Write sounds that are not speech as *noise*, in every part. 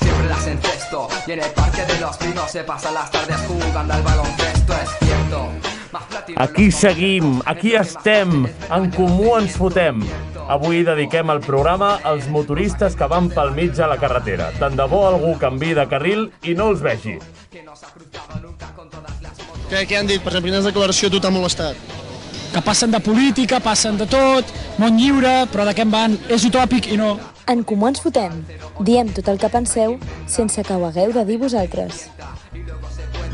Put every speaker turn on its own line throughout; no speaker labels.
Siempre las encesto. Y en el parque de los pinos se pasan las tardes jugando al baloncesto, es cierto. Más platino
Aquí
en los
seguim,
conciertos,
aquí
en los
estem,
temas,
en comú ens fotem. Avui dediquem el programa als motoristes que van pel mig a la carretera. Tant de bo algú canvi de carril i no els vegi.
Que no se ha cruzado nunca con todas las motos.
Què, què han dit? Per exemple, quines declaració a tu t'ha molestat?
que passen de política, passen de tot, món lliure, però de què en van? És utòpic i no.
En Comú Ens Fotem. Diem tot el que penseu sense que ho hagueu de dir vosaltres.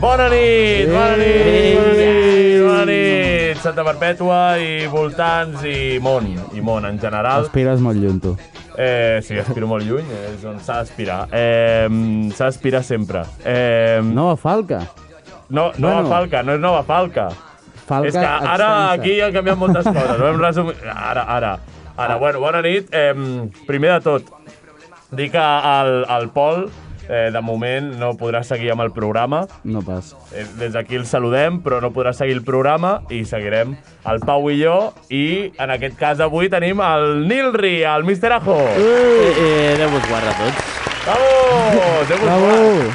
Bona nit, bona nit, bona nit, bona nit. Santa Perpètua i voltants i món, i món en general.
Aspires molt lluny, tu.
Eh, sí, aspiro molt lluny, és on s'ha d'aspirar. Eh, s'ha d'aspirar sempre. Eh, no,
No, Falca.
no, nova
bueno.
falca, no és nova falca.
Falca
És que ara
extensa.
aquí han canviat moltes coses. Ho hem resumit... Ara, ara. Ara, bueno, bona nit. Eh, primer de tot, dir que el, el Pol, eh, de moment, no podrà seguir amb el programa.
No pas.
Eh, des d'aquí el saludem, però no podrà seguir el programa i seguirem el Pau i jo. I, en aquest cas, avui tenim el Nilri, el Mister Ajo.
Eh, eh, Déu vos guarda a tots.
Vamos! Déu vos guard.
Bravo!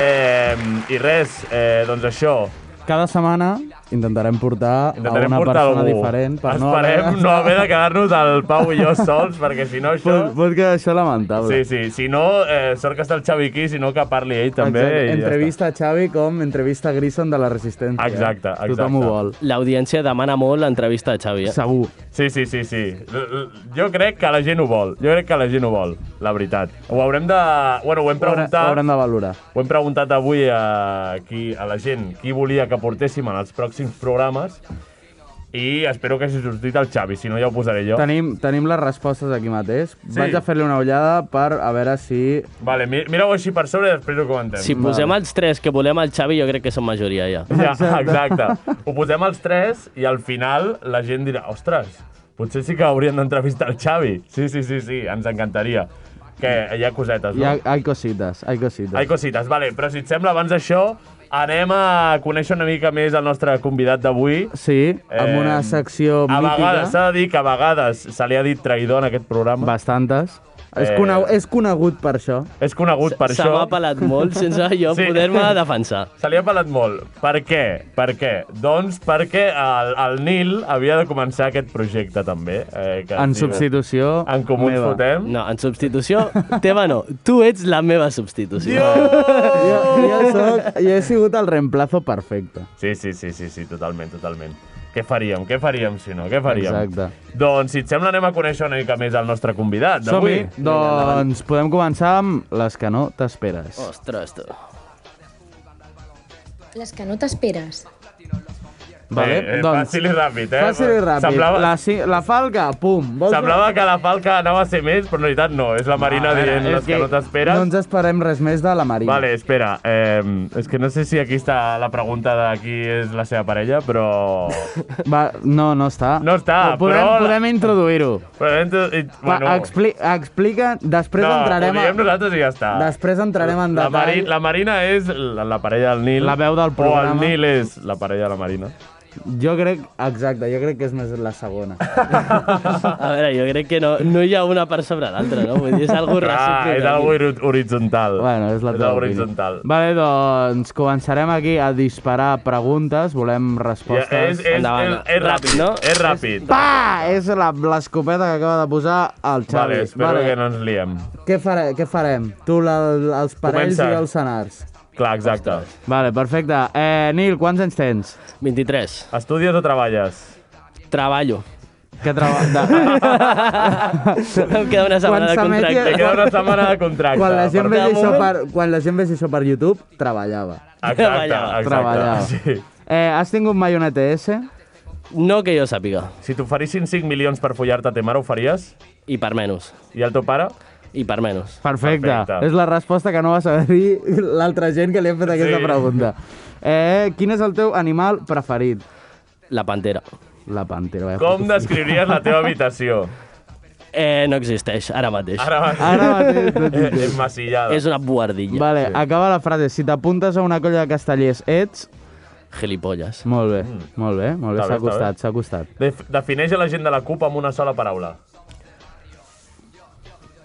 Eh, I res, eh, doncs això,
Cada setmana intentarem portar
Intentarem
a una
portar
persona
algú.
diferent. Per
Esperem no,
no eh?
haver de quedar-nos el Pau i jo sols, perquè si
*laughs*
no això...
Pot, pot quedar això lamentable.
Sí, sí. Si no, eh, sort que està el Xavi aquí, si no que parli ell també.
Exacte.
i ja
entrevista a Xavi com entrevista a Grison de la Resistència.
Exacte, exacte.
Tothom ho vol.
L'audiència demana molt l'entrevista de Xavi. Eh?
Segur.
està. Sí, sí, sí, sí. L- l- Jo crec que la gent ho vol. Jo crec que la gent ho vol, la veritat. Ho haurem de... Bueno, ho hem
Ho haurem- Ho
preguntat...
haurem de valorar.
Ho hem preguntat avui a, qui, a la gent qui volia que portéssim en els pròxims programes i espero que s'hi sortit el Xavi, si no ja ho posaré jo.
Tenim, tenim les respostes aquí mateix.
Sí.
Vaig a fer-li una ullada per a veure si...
Vale, mi- mira-ho així per sobre i després ho comentem.
Si posem els tres que volem al Xavi, jo crec que som majoria ja.
*laughs*
Ja, exacte. Ho posem els tres i al final la gent dirà, ostres, potser sí que haurien d'entrevistar el Xavi. Sí, sí, sí, sí, ens encantaria. Que hi ha cosetes,
Hi
no?
ha, hi ha cosites, hi ha cosites.
Ai, cosites, vale, però si et sembla, abans d'això, anem a conèixer una mica més el nostre convidat d'avui.
Sí, amb
Eh,
una secció
A
mítica.
vegades, s'ha de dir que a vegades se li ha dit traïdor en aquest programa.
Bastantes. És,
Eh.
conegu és conegut per això.
És conegut per
Se
això.
m'ha pelat molt sense
*laughs*
jo
Sí.
sí. poder-me defensar.
Se li ha pelat molt. Per què? Per què? Doncs perquè el, el Nil havia de començar aquest projecte també. Eh, que es
En
diu-
substitució
En comú ens
meva.
fotem.
No,
*laughs*
en substitució, teva no. Tu ets la meva substitució.
Jo, jo,
Oh!
soc, jo he sigut el reemplazo perfecte.
Sí, sí, sí, sí, sí, totalment, totalment. Què faríem? Què faríem, si no? Què faríem?
Exacte.
Doncs, si et sembla, anem a conèixer una mica més el nostre convidat d'avui.
Doncs podem començar amb les que no t'esperes.
Eh,
Ostres, tu.
Les que no t'esperes.
Vale, eh, doncs... Fàcil i ràpid, eh?
Fàcil i ràpid.
Semblava,
La, ci- la falca, pum. Vols
semblava que la falca anava a ser més, però en realitat no. És la
Ah,
Marina dient les que, no t'esperes.
No ens esperem res més de la Marina.
Vale, espera. Eh, és que no sé si aquí està la pregunta de qui és la seva parella,
*laughs*
però...
Va, no, no està.
No està,
podem,
però-
Podem introduir-ho.
però ento- i-
Bueno. Expli explica, després
no,
entrarem...
ho diem nosaltres i ja està.
Després entrarem en
la,
detall.
Mari, la Marina és la, la parella del Nil.
La veu
O
del
el
programa.
Nil és la parella de la Marina.
Jo crec, exacte, jo crec que és més la
*laughs*
segona.
A veure, jo crec que no, no hi ha una per sobre l'altra, no? Vull dir, és
*laughs*
algo
Ah, és
recíproc.
algo hori- horitzontal.
Bueno, és la
és
teva
algo
opinió.
horitzontal.
Vale, doncs començarem aquí a disparar preguntes, volem
Ja,
respostes.
és, és, és,
Endavant.
és, és ràpid, no? És ràpid.
Pa! És la- l'escopeta que acaba de posar el Xavi.
Vale, espero que no ens liem.
què, faré, què farem? Tu, la, els parells
Comença.
i els senars.
Clar, exacte.
Vale, perfecte. Eh, Nil, quants anys tens?
23.
Estudies o treballes? *laughs*
Treballo.
Que traba... de...
em queda una setmana de
Quan
Te
s'emeti-
contracte.
queda una setmana de contracte.
quan, la gent
Per
vegi
cada
això
moment-
per, quan la gent vegi això per YouTube, treballava.
Exacte,
Treballava.
exacte.
Treballava.
Sí.
Eh, has tingut mai un ETS?
No que jo sàpiga.
Si t'oferissin 5 milions per follar-te a ta mare, ho faries?
I per menys.
I el teu pare?
i per menys.
Perfecte.
Perfecte.
Perfecte. És la resposta que no va saber dir l'altra gent que li hem fet aquesta
Sí.
pregunta. Eh, quin és el teu animal preferit?
La pantera.
La pantera. Vaja,
Com
foto.
descriuries la teva habitació?
Eh, no existeix, ara mateix.
Ara mateix.
Ara
*laughs*
mateix no
Eh,
t'entenc.
És
Ah.
massillada.
És una buhardilla.
Vale, sí. acaba la frase. Si t'apuntes a una colla de castellers, ets...
Gilipolles.
Molt bé, molt bé, molt
Mm. Està bé,
bé. S'ha
està bé.
costat, s'ha costat.
Def defineix a la gent de la CUP amb una sola paraula.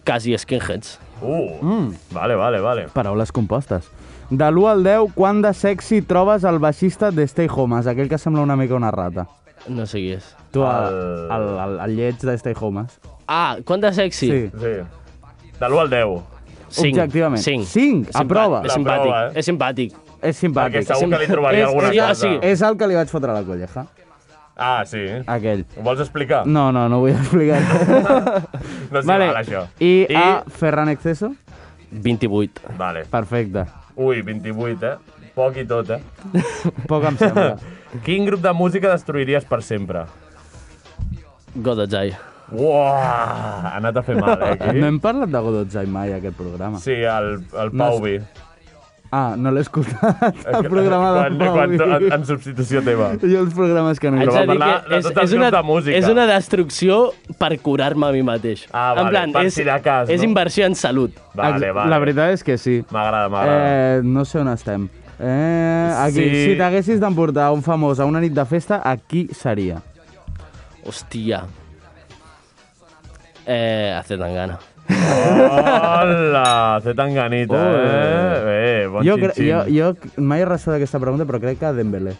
Quasi skinheads.
Uh, vale, vale, vale.
Paraules compostes. De l'1 al 10, quant de sexy trobes el baixista de Stay Homes, aquell que sembla una mica una rata?
No sé qui és.
Tu, el,
El-
el, el, el lleig de Stay Homes.
Ah, quant de sexy?
Sí. De l'1 al 10.
Cinc.
Objectivament.
Cinc.
Cinc,
Simpa-
aprova.
És simpàtic.
Aprova, eh?
És simpàtic.
És
Perquè
simpàtic.
segur que li
És-
trobaria alguna
és-
cosa.
sí.
És el que li vaig fotre a la colleja,
Ah, sí.
aquell.
Ho vols explicar?
No, no, no ho vull explicar.
*laughs* No s'hi vale. val, això.
I, I a Ferran Exceso?
28.
Vale.
Perfecte.
Ui, 28, eh? Poc i tot, eh?
Poc em
*laughs*
sembla.
Quin grup de música destruiries per sempre?
Godozai.
Uah, ha anat a fer mal, eh, aquí.
No hem parlat de Godotzai mai, aquest programa.
Sí, el, el
No
Pau
és-
Vi.
Ah, no
*laughs*
l'he escoltat, el programa del
quan, quan,
Pau.
en, en substitució teva.
Jo els programes que no hi
Però va
Haig de dir
parlar
que
de tots els
una,
grups de música.
és una destrucció per curar-me a mi mateix.
Ah,
en
vale,
plan,
per
és,
si de cas,
és
no?
inversió en salut.
Vale, vale.
La veritat és que sí.
M'agrada, m'agrada.
Eh, no sé on estem. Eh, aquí,
Sí.
si t'haguessis d'emportar un famós a una nit de festa, a qui seria?
Hòstia. Eh, hace tan gana.
Hola, té tan ganita,
Oh.
eh? Eh, bon
jo,
xin,
cre-
xin.
jo, jo mai he restat aquesta pregunta, però crec que Dembélé.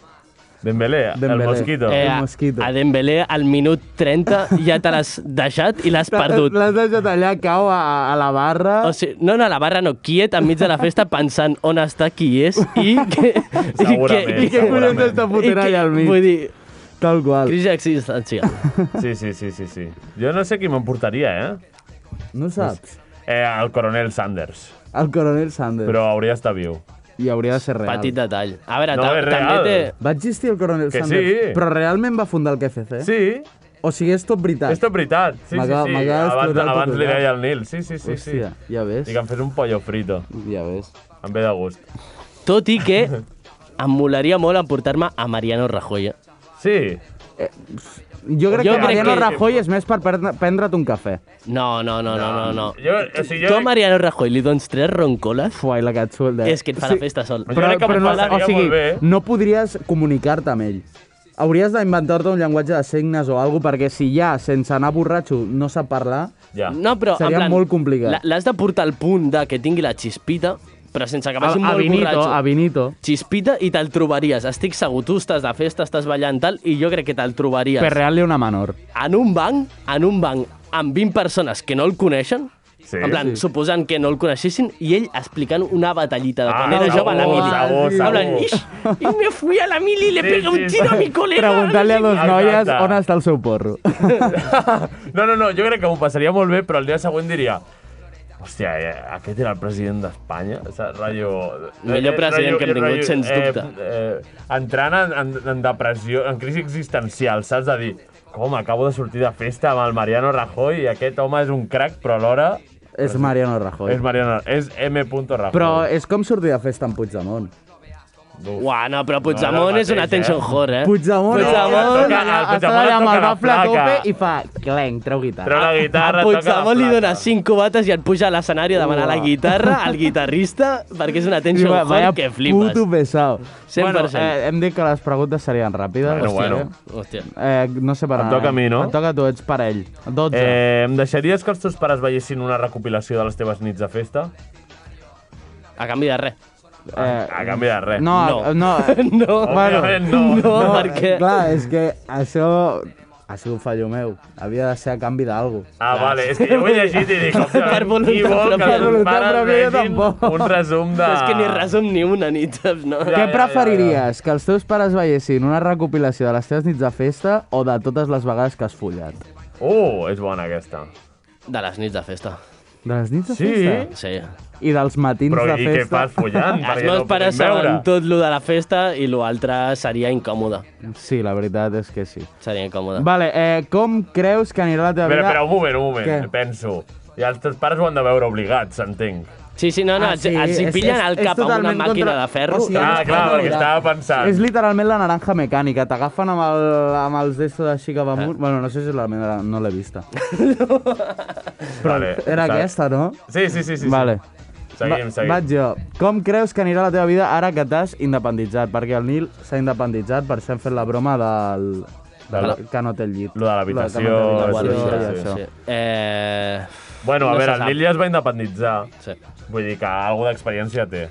Dembélé,
Dembélé.
el mosquito.
Eh, a-
mosquito.
a Dembélé, al minut 30, ja te l'has deixat i l'has
*laughs*
perdut.
L'has deixat allà, cau a, a la barra.
O sigui, no, no, a la barra no, quiet enmig de la festa pensant on està, qui és i que...
Segurament,
I que,
Què collons
segurament.
està
i
fotent
que,
allà al mig?
vull dir,
Tal qual.
crisi existencial.
Sí, sí, sí, sí, sí. Jo no sé qui m'emportaria, eh?
No ho saps?
eh? El coronel Sanders.
El coronel Sanders.
Però hauria d'estar viu.
I hauria de ser real.
Petit detall. A veure,
No,
ta-
és
també
real.
té...
Va existir el coronel
Que
Sanders,
sí.
però realment va fundar el KFC?
Sí,
O sigui, és tot veritat.
és tot veritat. Sí, sí,
M'acaba-
sí.
m'acaba
Abans,
d'explotar el
abans li
titular.
deia al Nil. Sí, sí, sí. sí.
Hòstia, ja ves.
I que em fes un pollo frito.
Ja ves.
Em ve de gust.
Tot i que em molaria molt emportar-me a Mariano Rajoy. eh?
Sí.
Jo crec
Jo
que
crec
Mariano
que-
Rajoy és més per perdre- prendre't un cafè.
No, no, no, no, no. no.
Jo, o sigui,
Tu
jo,
a Mariano Rajoy li dones tres roncoles,
Fuà, i la eh. catsuelda.
és que et fa la festa sol.
Jo crec que
no,
m'ho passaria
o sigui,
molt
eh.
bé.
no podries comunicar-te amb ell. Hauries d'inventar-te un llenguatge de signes o alguna perquè si ja, sense anar borratxo, no sap parlar...
ja.
No, però, en
Seria
plan,
molt complicat.
la- L'has de portar al punt de que tingui la xispita, però sense que vagi molt
Benito,
borratxo.
a Benito.
Xispita i te'l trobaries. Estic segur, tu estàs de festa, estàs ballant tal, i jo crec que te'l trobaries.
Per real-li una menor.
En un banc, en un banc, amb 20 persones que no el coneixen,
Sí.
en plan,
Sí.
suposant que no el coneixessin, i ell explicant una batallita de
Ah,
quan era
segur,
jove a la mili.
segur,
En plan,
segur.
"Ix, i me fui a la mili i le
Sí,
pegué un
sí,
tiro
sí.
a mi col·lega.
Preguntar-li a dos
Exacte.
noies on està el seu porro.
No, no, no, jo crec que m'ho passaria molt bé, però el dia següent diria Hòstia, eh, aquest era el president d'Espanya? O sigui, rotllo...
Millor
eh,
president que hem tingut,
rotllo,
sens dubte.
Eh, eh, entrant en, en, en depressió, en crisi existencial, saps? De dir, com, acabo de sortir de festa amb el Mariano Rajoy i aquest home és un crack, però alhora
*laughs* és Mariano Rajoy.
és Mariano... És M. Rajoy.
Però és com sortir de festa amb Puigdemont.
Uah, no, però Puigdemont
No era el
és una
mateix,
tension
eh?
whore, eh?
Puigdemont,
No,
Puigdemont,
toca-
allà-
el Puigdemont
està allà
toca
amb el
la
bafle a
placa.
tope i fa clenc, treu guitarra.
Treu la guitarra,
A
toca la
Puigdemont li
flauta.
dona 5 cubates i et puja a l'escenari a demanar la
Uah.
guitarra al guitarrista perquè és una
Sí,
tension
va-
whore
vaya
que flipes.
Puto pesado.
100%.
Bueno, eh, hem dit que les preguntes serien ràpides.
Bueno,
Hòstia,
bueno.
eh?
Hòstia.
Eh, no sé per
Em
on
toca
anem.
a mi, no?
Em toca a tu, ets parell. 12. Eh...
Eh, em deixaries que els teus pares veiessin una recopilació de les teves nits de festa?
A canvi de
*laughs*
res.
Eh,
A canvi de res.
No,
no.
no. *laughs* no.
No,
Bueno,
Òbviament no.
*laughs* no, perquè...
Clar, és que això ha sigut fallo meu. Havia de ser a canvi d'algo.
Ah, vale, és que jo ho he llegit i
*laughs*
dic, hòstia,
Per
qui
voluntat
vol que
pròpia.
els
Per voluntat
pares
pròpia jo
vegin
tampoc.
un resum de...
És que ni resum ni una nit, saps, no?
Ja,
Què
ja,
preferiries? Que els teus pares veiessin una recopilació de les teves nits de festa o de totes les vegades que has follat?
Uh, és bona aquesta.
De les nits de festa.
De les nits de
Sí?
festa?
Sí.
I dels matins
Però
de
i
festa?
què fas
*laughs*
follant?
Els
Perquè
meus
no
pares
podem veure.
saben tot lo de la festa i l'altre seria incòmode.
Sí, la veritat és que sí.
Seria incòmode.
Vale, eh, com creus que anirà la teva
Espera,
vida?
espera, un moment, un moment,
Què?
penso. I els teus pares ho han de veure obligats, entenc.
Sí, sí, no, no,
Ah,
els, els hi
és-
pillen
és-
al
és
cap amb una
totalment
màquina de ferro.
O sigui,
Ah,
és
clar,
totalment
perquè
obligat.
estava pensant.
És literalment la naranja mecànica. T'agafen amb, el, amb els d'estos així que va
Eh.
amunt. Bueno, no sé si és la meva, no l'he
*laughs*
vista.
Però
Era aquesta, no?
Sí, sí, sí. sí
Vale.
Sí. Seguim,
Va-
seguim.
Vaig jo. Com creus que anirà la teva vida ara que t'has independitzat? Perquè el Nil s'ha independitzat, per això hem fet la broma del... del
la-
que no té el llit.
Lo de l'habitació,
Lo de que no té
sí,
l'habitació
sí,
i això.
Eh...
Bueno, a
No
no
se
veure, el
sap.
Nil ja es va independitzar.
Sí.
Vull dir que alguna d'experiència té.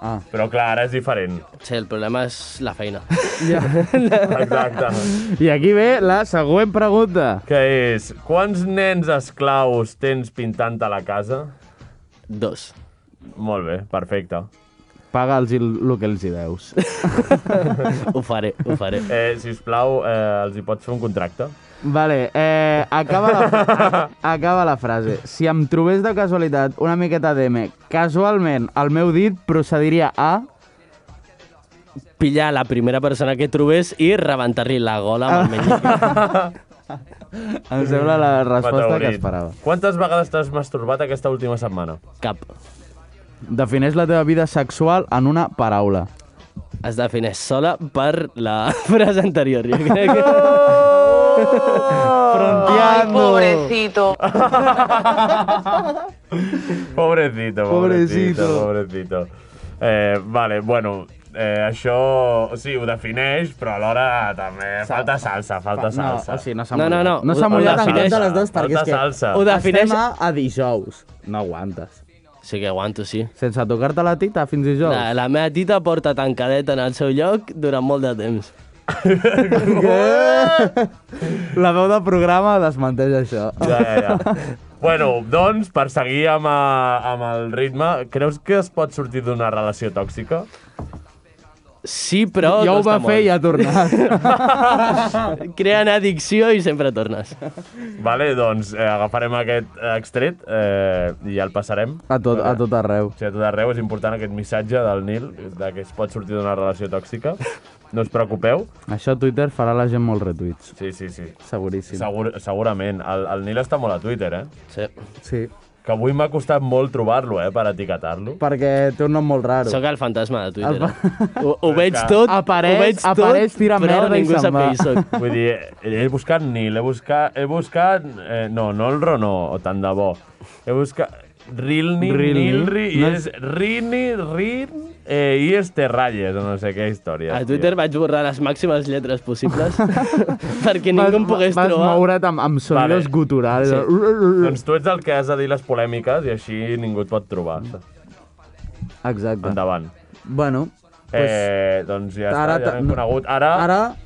Ah.
Però clar, ara és diferent.
sí, el problema és la
*laughs*
feina.
Exacte.
*laughs* I aquí ve la següent pregunta.
que és, quants nens esclaus tens pintant a la casa?
Dos.
Molt bé, perfecte.
Paga'ls el, el que els hi deus. *laughs*
ho faré, ho faré.
Eh, si us plau, eh, els hi pots fer un contracte?
Vale, eh,
*laughs*
acaba, la, acaba la frase. Si em trobés de casualitat una miqueta d'M, casualment el meu dit procediria a...
Pillar la primera persona que trobés i rebentar-li la gola amb el meñique.
*laughs*
Em sembla la resposta que
Meteorit.
esperava.
Quantes vegades t'has masturbat aquesta última
*laughs*
setmana?
Cap.
Defineix la teva vida sexual en una paraula.
Es defineix sola per la *laughs* frase anterior. Jo crec
*laughs*
que...
Fronteando!
Pobrecito, pobrecito,
Pobrecito.
pobrecito. Eh, vale, bueno, eh, això sí, ho defineix, però alhora també falta salsa, falta salsa.
No, o sigui, no s'ha
No, no,
mullat.
no.
No s'ha
Ho- ho
mullat en cap
defineix.
de les dues perquè
Falta
és que...
salsa.
Ho defineix...
Estem a, a dijous. No aguantes.
Sí que aguanto, sí.
Sense tocar-te la tita fins dijous.
La, la meva tita porta tancadeta en el seu lloc durant molt de temps.
La veu del programa desmenteix això.
Ja, ja, ja. *laughs* Bueno, doncs, per seguir amb, eh, amb el ritme, creus que es pot sortir d'una relació tòxica?
Sí, però...
ja ho va
costa
fer
molt.
i ha tornat.
Creen addicció i sempre tornes.
Vale, doncs eh, agafarem aquest eh, extret eh, i ja el passarem.
A tot, a tot arreu.
O sigui, a tot arreu és important aquest missatge del Nil, de que es pot sortir d'una relació tòxica. No us preocupeu.
Això a Twitter farà la gent molts retuits.
Sí, sí, sí.
Seguríssim.
Segur, segurament. El, el Nil està molt a Twitter, eh?
Sí.
Sí.
Que avui m'ha costat molt trobar-lo, eh, per etiquetar-lo.
Perquè té un nom molt raro.
Sóc el fantasma de Twitter.
El fa-
eh? Ho, ho veig tot,
Apareix-
ho veig tot,
apareix, tira
però
merda i
ningú
se'n
sap
va.
qui
*laughs*
soc.
Vull dir, he buscat Nil, he buscat... He buscat eh, no, no el Ronó, o tant de bo. He buscat Rilni,
Rilni.
Nilri, i
No
és Rini, Rin, eh, i és Terralles, o no sé què història.
Ah,
A Twitter vaig borrar les màximes lletres
*laughs*
possibles perquè ningú em pogués
vas
trobar.
moure't amb, amb sonidos
Vale.
vale. guturals.
Doncs tu ets el que has de dir les polèmiques i així ningú et pot trobar.
Ah. Exacte.
Endavant.
Bueno,
Eh, doncs ja està,
ara
ja
ta-
l'hem conegut. Ara, ara...
ara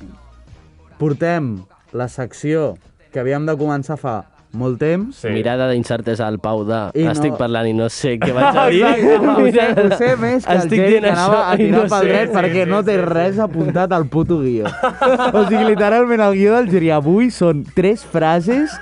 portem la secció que havíem de començar fa molt temps.
Sí.
Mirada d'incertesa al Pau de...
I no-
Estic parlant i no sé què vaig a dir. *laughs*
Exacte, ho sé, ho sé més que el
Estic
Geri
dient
que anava
això
a
i
tirar
no
pel
sé.
dret
sí,
perquè
sí,
no té
sí, sí.
res apuntat al puto guió. O sigui, literalment el guió del Geri avui són tres frases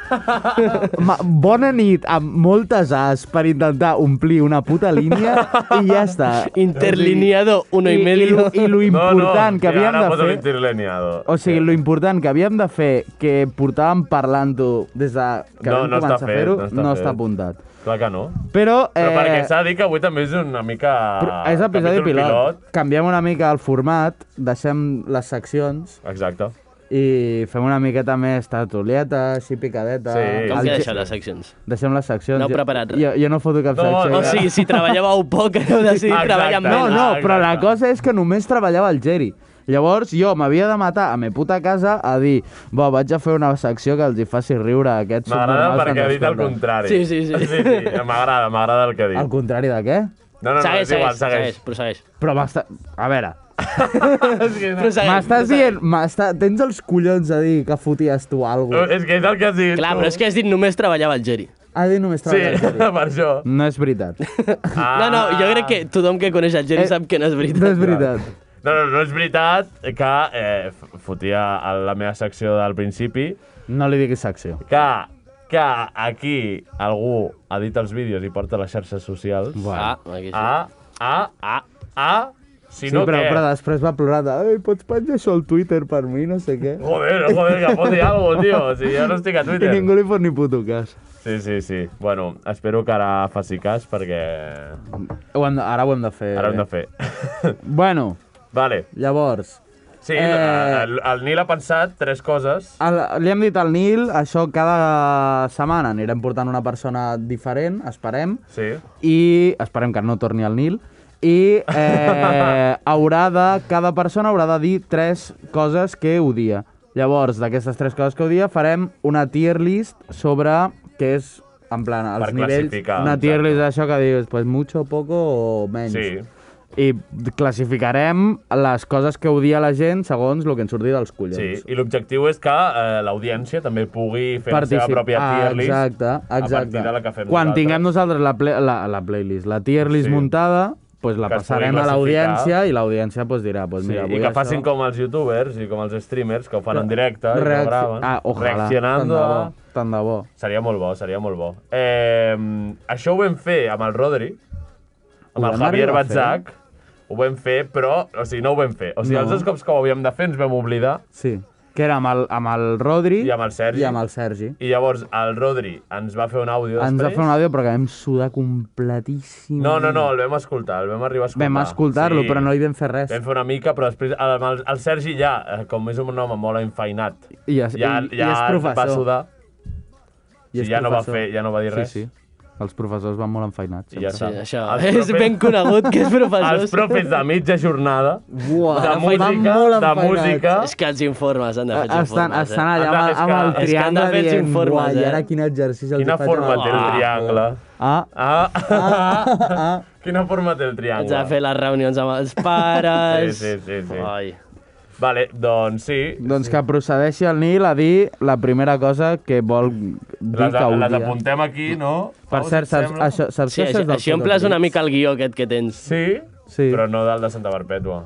ma- bona nit amb moltes as per intentar omplir una puta línia i ja està.
Ah, Interlineado uno y
Doncs I, i,
medio.
lo, i
*laughs*
lo important que
sí,
havíem
ara
de
poso
fer...
l'interlineado.
O sigui, lo important que havíem de fer, que portàvem parlant-ho des de que
No,
vam
no està
començar
fet,
a fer-ho,
no està
no,
fet.
està apuntat.
Clar que no.
Però,
Però
eh,
perquè s'ha de dir que avui també és una mica...
Però és episodi
capítol
pilot. pilot. Canviem una mica el format, deixem les seccions
Exacte.
i fem una miqueta més tertulieta, així picadeta.
Sí.
Com
El
que
Ge-
deixeu les seccions?
Deixem les seccions.
No he
Jo-
preparat res.
Jo, jo no foto cap
No,
secció.
O sigui, si treballàveu poc, heu decidit
Exacte.
treballar amb
No,
menys.
no,
Ah,
però la
exacte.
cosa és que només treballava el Geri. Llavors jo m'havia de matar a me puta casa a dir bo, vaig a fer una secció que els hi faci riure a aquests
M'agrada
subnormals que
perquè ha
ens
dit el
escolten."
contrari.
Sí, sí, sí.
sí, sí. M'agrada, m'agrada el que ha dit.
El contrari de què?
No, no, no,
Segueix,
és igual,
segueix,
segueix.
segueix, però segueix.
Però m'està... A veure,
*laughs*
Però
Eh,
segueix.
m'estàs dient... M'està... Tens els collons de dir que foties tu alguna cosa.
És que és el que has dit.
Clar,
tu.
però és que has dit només treballava el Geri.
Ha dit només
Sí,
treballar el Geri.
*laughs* per això.
*laughs* No és veritat.
Ah.
No, no, jo crec que tothom que coneix el Geri
Eh,
sap que no és
No és
veritat.
veritat.
No, no, no és veritat que eh, f- fotia a la meva secció del principi
No li diguis secció.
que, que aquí algú ha dit els vídeos i porta les xarxes socials
Ah, aquí sí.
a, a, a, a Si
sí,
no,
però,
què?
però després va plorar de Ei, pots penjar això al Twitter per mi, no sé què.
Joder, joder, que foti algo, tio. Si jo no estic a
I
Twitter.
ningú li fot ni puto cas.
Sí, sí, sí. Bueno, espero que ara faci cas perquè
Ho hem de, ara ho hem de fer.
ara ho hem de fer. *laughs*
Bueno,
vale.
llavors,
Sí,
Eh.
eh... el, el Nil ha pensat tres coses.
el, li hem dit al Nil, això cada setmana anirem portant una persona diferent, esperem,
Sí.
i esperem que no torni al Nil, i
*laughs*
eh, haurà de, cada persona haurà de dir tres coses que odia. Llavors, d'aquestes tres coses que odia, farem una tier list sobre què és, en plan, els
Per
nivells...
classificar,
Una tier
exacte.
list d'això que dius, pues mucho, poco o menys.
Sí.
I classificarem les coses que odia la gent segons el que ens surti dels collons.
Sí, i l'objectiu és que eh, l'audiència també pugui fer la seva
Particip-
pròpia tier list
ah, exacte, exacte.
a partir de la que fem
Quan
nosaltres.
tinguem nosaltres la, ple la, la playlist, la tier list
Sí.
sí. muntada, pues la
Que es
passarem
pugui
a l'audiència i l'audiència pues dirà, pues
Sí,
mira,
I
avui
que
això...
facin com els youtubers i com els streamers, que ho fan en directe i
Reacc-
ho graven.
Ah, ojalà.
Reaccionando.
Tant de bo. Tant de bo.
Seria molt bo, seria molt bo. Eh, això ho vam fer amb el Rodri, amb
Ho
el
vam
Javier
arribar a fer?
Batzac, ho vam fer, però... O sigui, no ho vam fer. O sigui,
No.
els dos cops que ho havíem de fer ens vam oblidar
Sí. Que era amb el, amb el Rodri
I amb el Sergi.
i amb el Sergi.
i llavors el Rodri ens va fer un àudio
Ens va
després.
fer un àudio perquè vam sudar completíssim.
No, no, no, el vam escoltar, el vam arribar a escoltar.
Vam escoltar-lo, sí. però no hi vam fer res.
Vam fer una mica, però després el, el, el Sergi ja, eh, com és un home molt enfeinat,
I ja-
ja,
i- i
ja
és
va
professor.
sudar
I és
sí, ja no va
professor.
fer- ja no va dir res.
Sí, sí. Els professors van molt enfeinats.
i ja
Sí,
està.
això.
Els
*laughs* És
propers-
ben conegut que és
*laughs*
professor.
Els profes de mitja jornada,
Buah,
de
van
música,
molt
de
enfeinats.
música...
És que els informes han de fer els
Estan,
informes.
estan
eh?
allà amb, el- amb
És
el
que-
és que han de
triangle
fer els
dient,
informes,
"Uai,
eh?"
ara quin exercici els
Quina
hi faig
forma
avui?"
té el triangle?
Ah,
Ah, ah, ah. Quina forma té el
Haig de fer
triangle?
les reunions amb els pares...
*laughs* Sí, sí, sí, sí.
Ai.
Vale, doncs sí,
doncs que procedeixi el Nil a dir la primera cosa que vol dir
les,
que
les
odia.
apuntem aquí, no?
Per
Pau, si
cert,
et
saps,
sembla?
això, saps
Sí,
que això
això,
és del eh?
això emples una
Fotoclics?
mica el guió aquest que tens.
Sí,
Sí.
però no del de Santa Perpètua.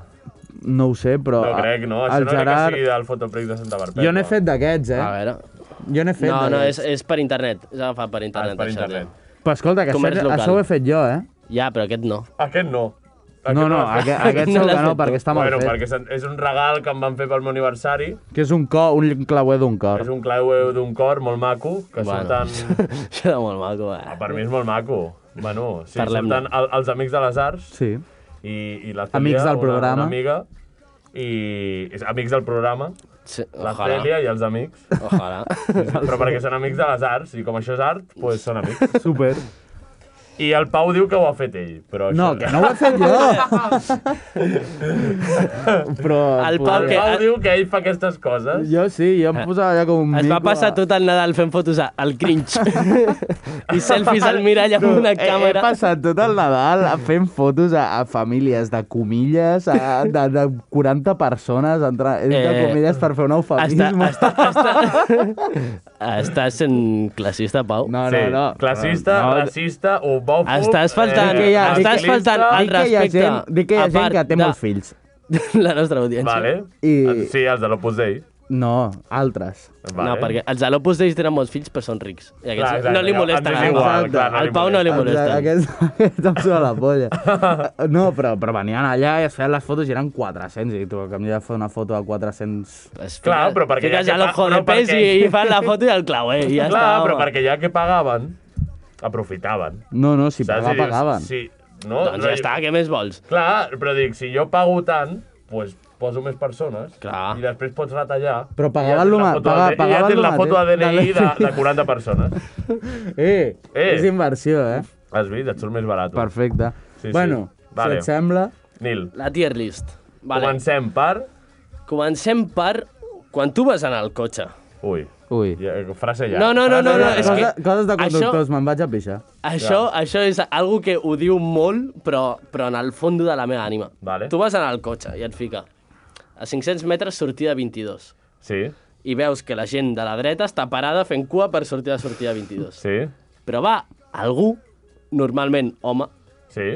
No ho sé, però...
No
a-
crec, no? Això
el
no
Gerard...
crec que sigui del fotoprix de Santa Perpètua.
Jo n'he fet d'aquests, eh?
A veure...
Jo n'he fet
No, no, és,
d'aquests.
és per internet. És agafat per
Ah,
internet,
és per
això,
internet.
tio.
Però escolta, que
Comerç
això,
local.
això ho he fet jo, eh?
Ja, però aquest no.
Aquest no.
No, no,
*laughs*
l'has
aquest,
fet.
aquest
No
segur
l'has
que no,
fet
perquè està mal
bueno,
fet.
perquè se'n- és un regal que em van fer pel meu aniversari.
Que és un cor, un clauer d'un cor.
És un clau d'un cor molt maco, que
Bueno.
surten...
Això era molt maco,
Ah,
eh?
per mi és molt maco. Bueno, sí,
Parlem-ne.
surten el, els amics de les arts
Sí.
i, i la
Amics
Cèlia,
del
Una,
programa.
una amiga, i... És, amics del programa,
Sí,
la
ojalà.
Cèlia i els amics.
*laughs* Ojalà.
Però perquè són amics de les arts, i com això és art, doncs pues
*laughs*
són amics.
Super.
I el Pau diu que ho ha fet ell, però
No,
això...
que no ho he fet jo! *laughs* Però...
El Pau
El
que-
Pau diu que ell fa aquestes coses.
Jo sí, jo em posava allà com un
Es va
mico
passar
a-
tot el Nadal fent fotos a- al cringe. I selfies al mirall amb una
he, He
càmera.
passat tot el Nadal fent fotos a, a famílies de comilles, a, de, de 40 persones, entre, entre
Eh,
comilles, per fer un
Està,
eufemisme.
està, *laughs* està, estàs sent classista, Pau.
No, no, no.
Classista, no, racista, homòfob... eh,
Estàs faltant-
Dic que hi ha- dic-
estàs faltant al
Dic que hi ha
respecte,
gent, dic que hi
a
ha gent que
part
té
de-
molts fills.
La nostra audiència.
Vale. I...
I-
Sí, els de l'Opus Dei.
No, altres.
Vale.
No, perquè els de l'Opus Dei tenen molts fills, però són rics. I aquests
Clar,
no li
exacte,
molesta.
ens és
gaire.
igual, clar, no li
Al Pau no li
molesta.
molesta.
Aquest, aquest em sona la *laughs* polla. No, però, però venien allà i es feien les fotos i eren 400. I tu, que em de fer una foto de 400...
Es
Clar,
fica-
però perquè
fiques
ja
ja
que
l'ojo
pa-
de
no,
pes i,
perquè-
i fan la foto i el clau, eh? I ja
Clar,
està,
però
home.
perquè ja que pagaven, aprofitaven.
No, no, si
Saps? I
pagar,
dius,
pagaven.
Sí, no,
Doncs
no,
ja està, què més vols?
Clar, però dic, si jo pago tant, doncs poso més persones
Clar.
i després pots retallar.
Però
i
pagaven
tens
lo
la
ma-
foto
paga-
del D- I ja
pagaven
tens
lo
la foto de
mateix.
DNI de, de 40
*laughs*
persones.
Eh,
Eh.
és inversió, eh?
Has vist? Et surt més barat.
Perfecte.
Sí, sí.
bueno,
Vale.
si et sembla...
Nil,
La tier list. Vale.
comencem per...
Comencem per quan tu vas anar al cotxe.
Ui,
Ui.
ja, frase ja.
No, no, no, no, no, és
Cosa,
que
coses de
això,
conductors, me'n vaig a pixar.
això, això és algo que ho diu molt, però, però en el fons de la meva ànima.
Vale.
Tu vas anar al cotxe i et fica a 500 metres sortida 22
Sí,
i veus que la gent de la dreta està parada fent cua per sortir de sortida 22.
sí,
Però va algú, normalment home,
sí.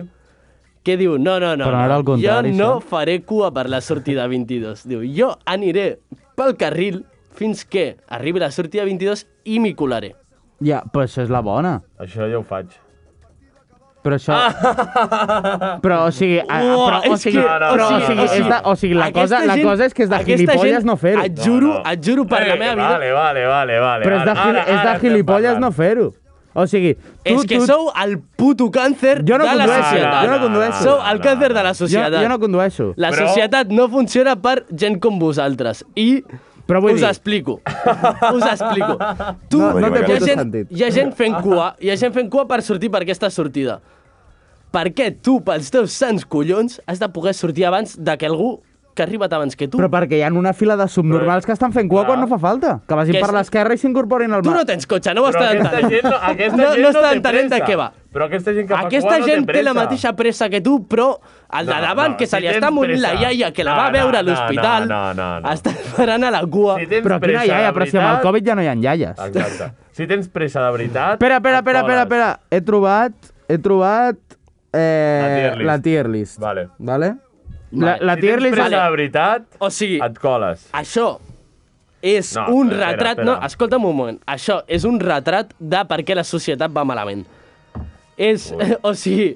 que diu, no, no, no,
Però
no,
era el contrari,
jo no
això.
faré cua per la sortida 22. Diu, jo aniré pel carril fins que arribi la sortida 22 i m'hi colaré.
Ja, però això és la bona.
Això ja ho faig.
Però això... Però, o sigui... a- a-
Uah,
Ah, però, o
és
sigui,
que-
però, o
no,
sigui,
no,
és de, o sigui la,
aquesta
cosa, la
gent-
cosa és que és de
aquesta
gilipolles
gent,
no fer-ho.
Et juro, et juro per la
Eh,
meva vida.
Vale, vale, vale, vale.
Però és de,
Ara-
gil,
ara-
és de
ara estem
gilipolles
parlant.
no fer-ho. O sigui, tu,
És que
tu,
sou el puto càncer
Jo no
de la
condueixo,
societat.
jo no condueixo.
Sou el càncer de la
jo,
societat.
jo no condueixo.
La
Però-
societat no funciona per gent com vosaltres. I
Però vull
us
dir-
explico.
*laughs*
Us explico. Tu,
No- no té
hi, ha
puto
gent,
sentit.
hi ha gent fent cua, hi ha gent fent cua per sortir per aquesta sortida. Per què tu, pels teus sants collons, has de poder sortir abans de que algú que ha arribat abans que tu...
Però perquè hi ha una fila de subnormals que estan fent cua quan no fa falta. Que vagin
Que és-
per l'esquerra i s'incorporin al
Tu
mar.
no tens cotxe, no ho
Però
estàs
aquesta
entenent.
gent no, aquesta
no,
gent
no,
no
està
té
entenent de
pressa.
què va.
Però aquesta gent que fa
aquesta
cua no té
gent té la
pressa.
mateixa pressa que tu, però el de
No,
davant,
no,
que se
si
li
tens
està morint la
pressa.
iaia que la
No,
va
no,
veure a
no,
l'hospital,
no, no, no.
està esperant a la cua.
Si tens
Però quina
pressa, de
iaia? Però si amb el
veritat-
Covid ja no hi ha iaies.
Exacte. Si tens pressa de veritat...
Espera, espera,
et
espera,
coles.
espera, espera. He trobat... He trobat...
La tier
Eh,
list.
la tier list.
Vale.
Vale? La, la
Si
tier
tens
list...
pressa
Vale.
de veritat,
O sigui,
et coles.
això és
No,
un
espera,
retrat...
espera.
No, escolta'm un moment. Això és un retrat de per què la societat va malament. És, *laughs* o sigui,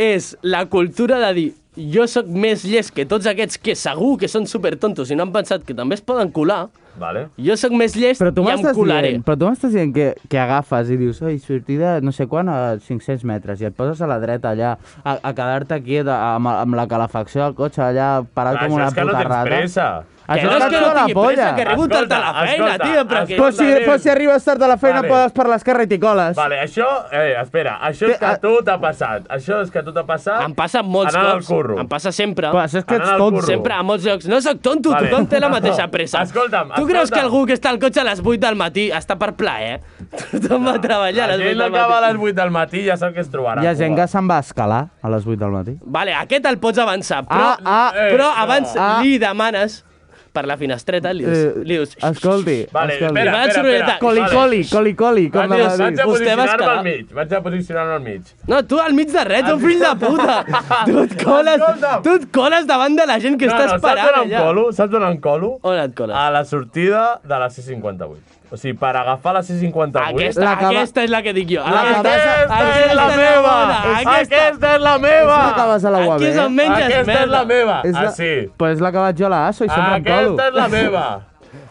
és la cultura de dir jo sóc més llest que tots aquests que segur que són supertontos i no han pensat que també es poden colar,
Vale?
jo sóc més llest
Però tu
i em
m'estàs
colaré.
eh.
dient, però tu m'estàs dient que, que agafes i dius oi, sortida no sé quan a 500 metres i et poses a la dreta allà a, a quedar-te quiet a- amb, amb la calefacció del cotxe allà parat
Clar,
com
això
una
és que no
puta
tens
rata.
pressa.
Que
Això
no
és
és
que
que no
la
tingui pressa,
polla.
que arribo tard a la
Escolta,
feina,
escolta,
tio, però que...
Però si,
Vale.
però si arribes tard a la feina
Vale.
podes per l'esquerra i t'hi coles.
Vale, això... Eh, espera, això és
Té-
que
a-
a tu t'ha passat. Això és que a tu t'ha passat...
Em passa molts
anant al
cops.
curro.
Em passa sempre.
Però això és que
Anant
ets
al
tonto.
curro.
Sempre, a molts llocs. No sóc tonto,
Vale.
vale. tothom té la mateixa pressa.
Escolta'm,
Tu creus
escolta'm.
que algú que està al cotxe a les 8 del matí està per plaer? *laughs* Tothom va a treballar a
La
les 8
gent
del
acaba a
matí.
les 8 del matí ja sap què es trobarà.
Hi ha gent
Cuba.
que se'n va a escalar a les 8 del matí.
Vale, aquest el pots avançar, però,
Ah, ah,
eh,
però
no.
abans
Ah.
li demanes per la finestreta, li dius...
Eh,
li dius
Escolti,
Vale, espera,
escolti.
Li va
espera,
ensorolleta.
espera.
Coli, coli, coli, coli, com
Vaig,
la va
vaig
dir.
a
Vostè va
posicionar-me
escalar.
al mig. Vaig a posicionar-me al mig.
No, tu al mig de res, un fill de puta. *laughs* Tu et coles,
Escolta'm.
tu et coles davant de la gent que està esperant
saps on em
allà.
colo? Ah, Saps on em colo?
On et coles?
A la sortida de la C58. O sigui, per agafar la C58...
Aquesta,
La cava-
aquesta és la que dic jo.
La
Aquesta,
cabassa-
és la meva!
bona,
Aquesta, és la meva!
Aquesta acabes a la UAB.
Aquí és on menges
Aquesta
merda.
és la meva!
És la...
eh? Ah, sí.
Però és la que vaig jo a l'ASO i sempre em colo.
Aquesta és la meva!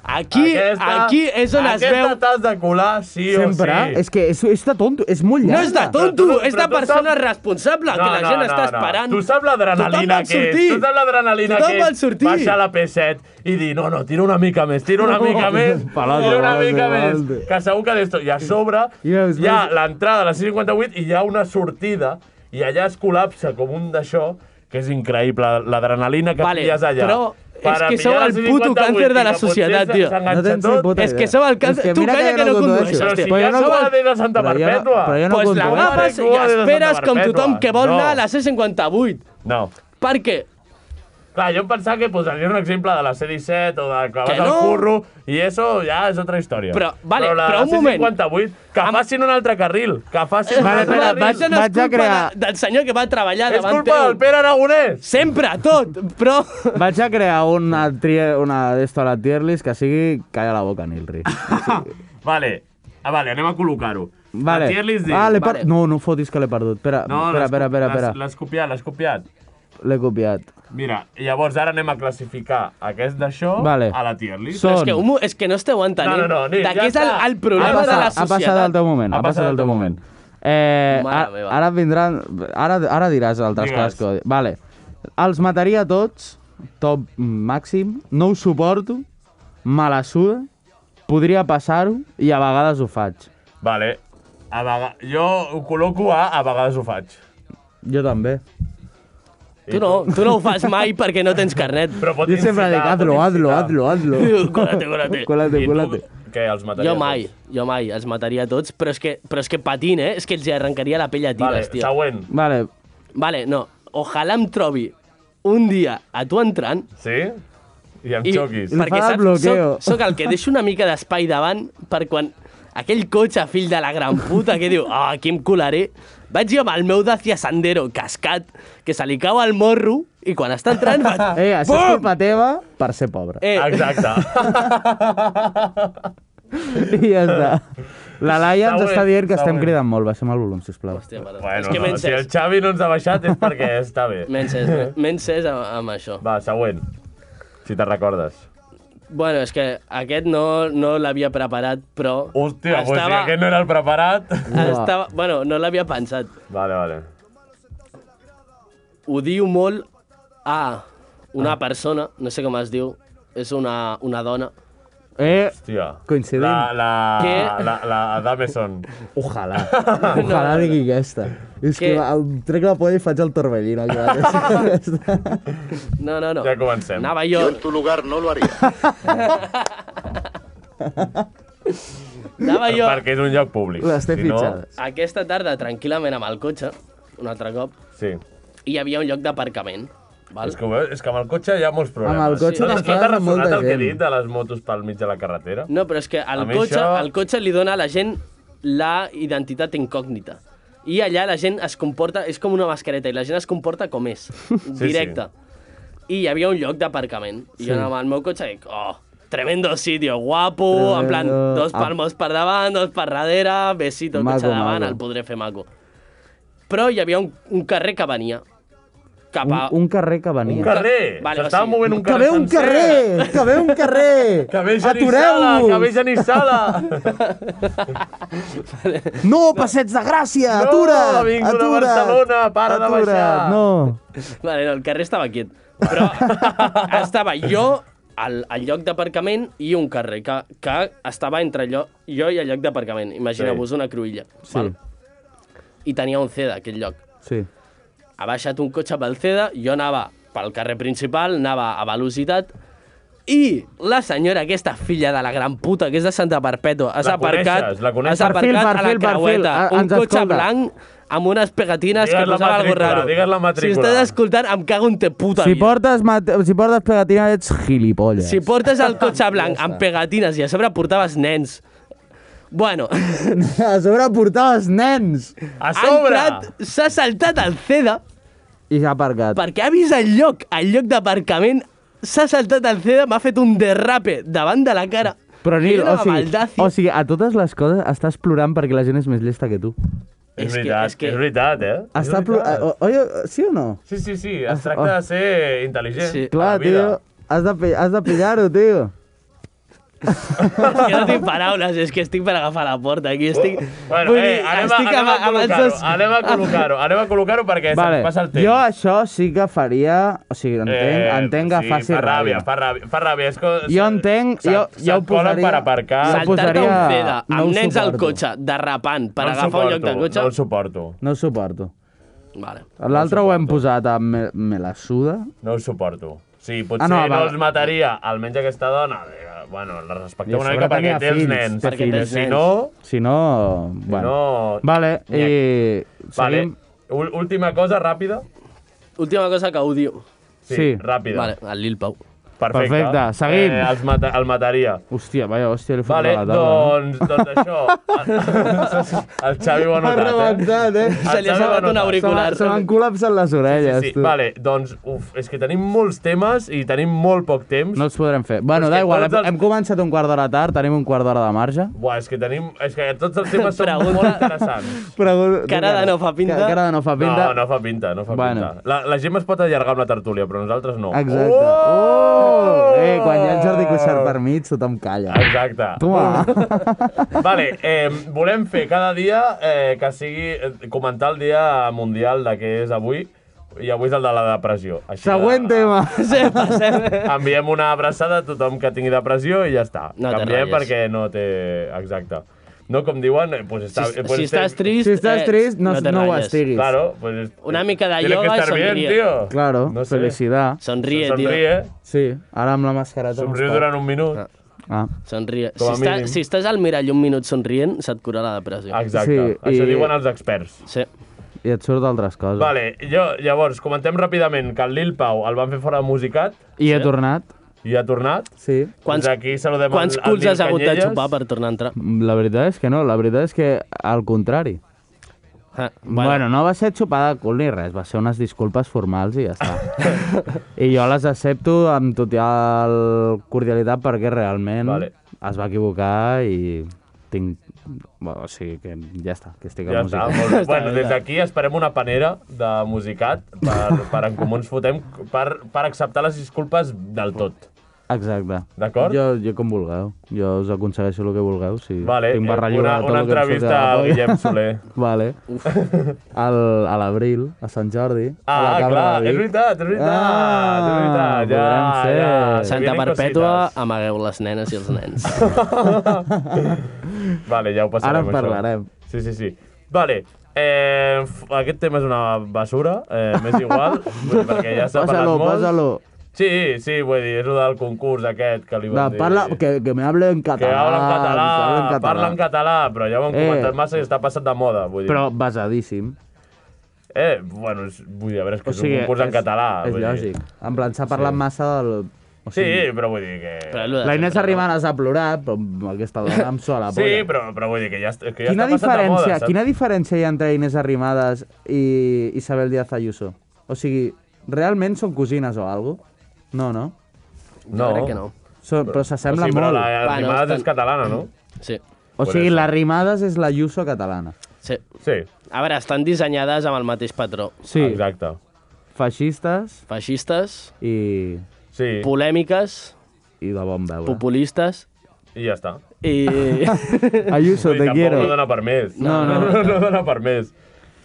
Aquí,
aquesta,
aquí és on es veu...
Aquesta t'has de colar, sí
Sempre?
o sí.
És que és, és de tonto, és molt
No
llarga.
és de
tu-
tonto,
però
és de
tu
persona
saps-
responsable, Ah, que la gent està esperant.
Tu saps
Tothom
l'adrenalina
vol
que és.
sortir.
Tu saps l'adrenalina
Tothom
que
vol
és.
sortir.
Baixar la P7 i dir, no, no, tira una mica més, tira una
No,
mica
*laughs*
més,
palote,
tira una
palote,
mica més.
palote.
Que segur que d'esto... I a sobre
I després-
hi ha l'entrada a la 58 i hi ha una sortida i allà es col·lapsa com un d'això que és increïble, l'adrenalina que
Vale,
pilles allà.
però és que sou
pillar la
el puto
58
càncer de la
que potser
societat,
se-
tio.
s'enganxa
No tens ni
tot.
puta
És que
idea.
sou el càncer-
És que
tu
mira
calla que no
condueixo.
Però
condueixes,
si
Però
ja
jo no
sou
vol-
a de Santa
Però jo no-
Perpètua.
però jo no eh?
Doncs
condueixo.
l'agafes i
Mare meva,
esperes
Santa
com tothom
Perpètua.
que vol anar a
No.
la C58.
No.
Per què?
Clar, jo em pensava que posaria un exemple de la C-17 o de que vas
Que
al
no.
curro i eso ja és altra història.
Però, vale,
la
però un moment.
C-58, que
Am-
facin un altre carril, que facin
Vale,
un
espera,
altre
vaig-
carril.
Això no és
vaig a
culpa
crear-
de- del senyor que va treballar
És
davant
culpa
teu.
del Pere Aragonès!
Sempre, tot, però...
Vaig a crear una, trie, una d'esto a la tier list que sigui... Calla la boca, Nilri.
Vale, ah, vale, anem a col·locar-ho.
Vale.
La tier list diu...
ah, l'he per...
Vale.
No, no fotis que l'he perdut. Espera,
No,
espera,
l'has-
espera, espera,
l'has-
espera.
L'has copiat, l'has copiat.
L'he copiat.
Mira, llavors ara anem a classificar aquest d'això
Vale.
a la tier list.
Són-
És que, un mo- és que no esteu entenent
No, no, no, Nil,
de
ja
què és el,
està.
el problema
ha passat,
de la
ha
societat.
passat el teu moment. Ha passat el teu moment. Eh,
Mare
ara,
meva.
ara vindran... Ara, ara diràs altres
Digues.
coses que... Vale. Els mataria a tots, top màxim, no ho suporto, me la suda, podria passar-ho i a vegades ho faig.
Vale, a vega... jo ho col·loco a a vegades ho faig.
Jo també.
Tu no, tu no ho fas mai perquè no tens carnet.
Però pot
Jo sempre dic,
incitar, pot
hazlo, hazlo,
incitar.
hazlo, hazlo.
*laughs* Cúrate, cúrate.
Colate,
I tu,
colate.
Què, els mataria
Jo mai,
tots?
jo mai, els mataria a tots, però és que, però és que patint, eh? És que els hi arrencaria la pell a
Vale,
tires, tio.
següent.
Vale,
Vale, no. Ojalà em trobi un dia a tu entrant
Sí? I em
i...
xoquis.
Per- fa el bloqueo.
Soc, soc el que deixo una mica d'espai davant per quan aquell cotxe, fill de la gran puta, que diu, ah, oh, aquí em colaré, vaig jo amb el meu Dacia Sandero cascat, que se li cau al morro, i quan està entrant Eh, faig...
eh, això és culpa teva per ser pobre.
Eh,
Exacte.
I ja està. La Laia ens
Següent,
està dient que estem
següent.
cridant molt. Baixem el volum, sisplau.
Hòstia, perdó.
Bueno,
és que m'he
no, si el
encès.
Xavi no ens ha baixat és perquè està bé.
*laughs* M'he encès, m'he encès amb, amb això.
Va, següent. Si te'n recordes.
Bueno, és que aquest no, no l'havia preparat, però...
Hòstia, Estava... pues si aquest no era el preparat...
estava, bueno, no l'havia pensat.
Vale, vale.
Odio molt a una
Ah.
persona, no sé com es diu, és una, una dona.
Eh,
Hòstia.
Coincidim.
La, la,
Què?
la, la, Dameson.
ojalà. *laughs* Ojalà
no, no.
digui aquesta. És
Que-
que, va- em trec la polla i faig el torbellino. aquí
*laughs*
mateix.
No, no, no.
Ja comencem.
Anava jo,
tu lugar no lo haría.
*laughs* anava jo
Perquè és un lloc públic.
*laughs* Les té fitxades.
aquesta tarda tranquil·lament amb el cotxe, un altre cop,
Sí.
i hi havia un lloc d'aparcament. Val?
És que, ho veus? és que amb el cotxe hi ha molts problemes.
Amb el cotxe
no,
t'està
t'has- no t'ha
molta
ressonat el que he
gent.
dit de les motos pel mig de la carretera?
No, però és que
A
al
mi
cotxe,
això-
això... al cotxe li dona a la gent la identitat incògnita. I allà la gent es comporta, és com una mascareta, i la gent es comporta com
*laughs*
és, directe. I hi havia un lloc d'aparcament. I jo anava al meu cotxe i dic, oh, tremendo sitio, guapo, tremendo... en plan,
Tremendo.
Ah.
dos palmos per davant, dos per darrere, besito,
Maco,
maco, cotxe davant,
maco.
el podré fer maco. Però hi havia un, un carrer que venia cap
un,
a...
un carrer que venia.
Un carrer!
Vale,
Vale,
o
S'estava
sigui,
movent un
Que
carrer
ve un
sencer.
carrer! Que ve un carrer!
*laughs* Que ve Genissala! Que ve
Atureu-vos!
Genissala!
No, passeig de Gràcia! Atura!
No, vinc de
atura!
Barcelona, para de
atura!
baixar.
No!
*laughs* Vale, no, el carrer estava quiet. Però *laughs* estava jo al, al lloc d'aparcament i un carrer que, que estava entre allò, jo i el lloc d'aparcament. Imagineu-vos una cruïlla. Sí. Val? I tenia un CEDA, aquell lloc.
Sí.
Ha baixat un cotxe pel CEDA, jo anava pel carrer principal, anava a velocitat, i la senyora aquesta, filla de la gran puta, que és de Santa Perpètua, has
La
aparcat,
coneixes, la coneixes.
has aparcat
Perfil,
a la
perfil, perfil.
creueta,
Ah,
un
ens
cotxe
escolta.
blanc amb unes pegatines
Digues
que
la
posava algo
matrícula,
raro.
digues la
si
matrícula.
estàs escoltant, em cago en te puta
Si
vida.
portes, mat- si portes pegatina ets gilipolles.
Si portes el cotxe blanc amb pegatines i a sobre portaves nens... Bueno,
*laughs* A sobre portaves nens!
A
ha
sobre!
entrat, s'ha saltat el CEDA
I s'ha aparcat.
perquè ha vist el lloc, el lloc d'aparcament, s'ha saltat el CEDA, m'ha fet un derrape davant de la cara.
Però Nil,
Era
o sigui,
Baldassi.
o sigui, a totes les coses estàs plorant perquè la gent és més llesta que tu.
És,
És que-
veritat,
és que-
és veritat, eh?
Està oh.
és
plo...
veritat.
o- Oi, sí o no?
Sí, sí, sí, es tracta de ser intel·ligent.
Sí.
Sí.
Clar, tio, has de, pi- has de pillar-ho, tio.
És que no tinc paraules, és que estic per agafar la porta. Aquí estic...
Bueno,
Vull
eh,
dir,
anem, a, anem, a
amb-
col·locar-ho,
amb els
Ah.
dos-
anem a col·locar-ho, anem a col·locar-ho perquè vale.
Vale.
se'm passa el temps.
Jo això sí que faria... O sigui, entenc, eh, entenc que
sí,
faci
fa
ràbia.
Fa ràbia, fa ràbia. És com,
Jo entenc,
se't-
jo-
se't
jo ho
colen
posaria-
per aparcar.
Jo ho
Saltar-te
posaria-
un CEDA amb
no ho
nens al
suporto.
cotxe, derrapant, per
no
agafar
suporto,
un lloc de cotxe...
No el suporto,
No ho suporto.
Vale.
L'altre ho hem posat a me, me la suda.
no ho suporto. Sí, potser
Ah,
ah,
no,
no, no
va.
els mataria, almenys aquesta dona. eh, Bueno, la
I a
respectem una
sobre
mica perquè
tenia
té els
fills,
nens.
té
Perquè té fills.
si no...
Si no... Bueno.
no-
Vale, i...
Vale.
seguim-
Ú- Última cosa, ràpida.
Última cosa que odio.
Sí,
Sí.
ràpida.
Vale, el Lil Pau.
Perfecte.
Perfecte, seguim.
Eh, els mata el mataria.
Hòstia, vaja, hòstia, li he fotut
Vale,
a la taula. eh?
doncs, doncs això. *laughs* El Xavi ho ha
M'ha
notat, eh?
rebentat, eh?
Se li
Em sembla que
ha salvat un
no.
Se m'ha-
auricular.
Se m'han col·lapsat les orelles,
Sí,
tu.
vale, doncs, uf, és que tenim molts temes i tenim molt poc temps.
No els podrem fer. Bueno,
Però és que
da igual,
tots
hem,
els-
hem començat un quart d'hora tard, tenim un quart d'hora de marge.
Buah, és que tenim... És que tots els temes són
Pregunta.
molt interessants.
Però...
Cara de no fa pinta.
Cara de no fa
No,
pinta.
no fa pinta, no fa
Bueno.
pinta. La, la Gemma es pot allargar amb la tertúlia, però nosaltres no.
Exacte.
Oh!
Oh! Eh, quan hi ha el Jordi Cuixart per mig, tothom calla. ah.
Exacte. *laughs*
Toma.
Vale, eh, volem fer cada dia eh, que sigui eh, comentar el dia mundial de què és avui i avui és el de la depressió. Així
Següent
que,
tema.
Sí, passem.
Enviem una abraçada a tothom que tingui depressió i ja està.
No te
Canviem
ratllis.
perquè no té... Exacte. No, com diuen... eh, Pues està,
Si,
eh, pues
si estàs trist,
Si estàs
eh,
trist, no,
te
no, ho
ratlles.
estiguis.
Claro, pues...
Una mica de
tiene que
yoga i
estar bien,
sonríe.
tío.
Claro,
No sé.
felicitat.
Sonríe, tio.
Sonríe,
Sí, ara amb la mascareta...
somriu
no es
durant un minut.
pot. Ah.
Sonríe. Si,
Com a
està,
mínim. Ah,
si estàs al mirall un minut somrient, se't cura la depressió.
Exacte,
Sí,
això
i-
diuen els experts.
Sí.
I et surt d'altres coses.
Vale, jo, llavors, comentem ràpidament que el Lil Pau el van fer fora de musicat
I he tornat.
i ha tornat.
Sí.
Quants,
Quants,
Des aquí saludem
quants
el, el
culs
Nil
has hagut de
Canyelles.
xupar per tornar a entrar?
La veritat és que no, la veritat és que al contrari.
Ah,
Bueno, bueno no va ser xupada de cul ni res, va ser unes disculpes formals i ja està.
*laughs*
I jo les accepto amb total cordialitat perquè realment
Vale.
es va equivocar i tinc Bueno, o sigui que ja està, que estic
Ja
a
està,
música.
molt bé. Bueno, des d'aquí esperem una panera de musicat per, per en Comú ens fotem per, per acceptar les disculpes del tot.
Exacte.
D'acord?
Jo, jo com vulgueu. Jo us aconsegueixo el que vulgueu. Si
Vale,
tinc
eh,
barra lliure
una,
de tot
una
el que em surti de
entrevista
la
al
polla.
Guillem Soler.
*laughs* Vale. Al, a l'abril, a Sant Jordi. a la
Ah,
Cabra
clar,
de
és
Vic.
veritat, és veritat, és
Ah,
veritat, ja,
podran ser.
ja.
Sí,
Santa
vienen
Perpètua,
cositas.
amagueu les nenes i
*laughs*
els nens.
Vale, ja ho passarem,
Ara en
això.
parlarem.
Sí, sí, sí. Vale, eh, f- aquest tema és una basura, eh, m'és
*laughs*
igual, vull dir, perquè ja s'ha parlat
Pásalo,
molt.
pásalo.
Sí, sí, vull dir, és el del concurs aquest que li
Va,
van dir.
parla, que, que me hable en
Que
català.
habla en català,
que hable en català.
parla en català, però ja ho han
Eh.
comentat massa i està passat de moda, vull dir.
Però basadíssim.
Eh, bueno, és, vull dir, a veure, és que
O
és
sigui,
un concurs en català.
És
vull dir.
lògic. En plan, s'ha parlat
Sí.
massa del... O
Sí,
sigui,
però vull dir que...
Però és lo de
La Inés
sempre, no?
Arrimadas ha plorat, però aquesta dona em sola.
Sí, però, però vull dir que ja, est- és que ja
quina
està passat de moda,
diferència,
saps?
quina diferència hi ha entre Inés Arrimadas i Isabel Díaz Ayuso? O sigui, realment són cosines o algo? No, no?
No.
Crec que no.
Són, però s'assemblen
sí,
molt.
però la Arrimadas
estan-
eh, és catalana, no?
Sí,
O
Por
sigui,
eso.
l'Arrimadas és la Ayuso catalana.
sí.
Sí,
A veure, estan dissenyades amb el mateix patró.
Sí,
exacte.
feixistes
Feixistes,
i,
Sí,
polèmiques,
i de bon veure.
populistes
i ja està. *laughs*
i... *laughs*
Ayuso,
Vull dir,
te
tampoc
quiero.
no dona per més.
No, no.
no, *laughs* no dona per més.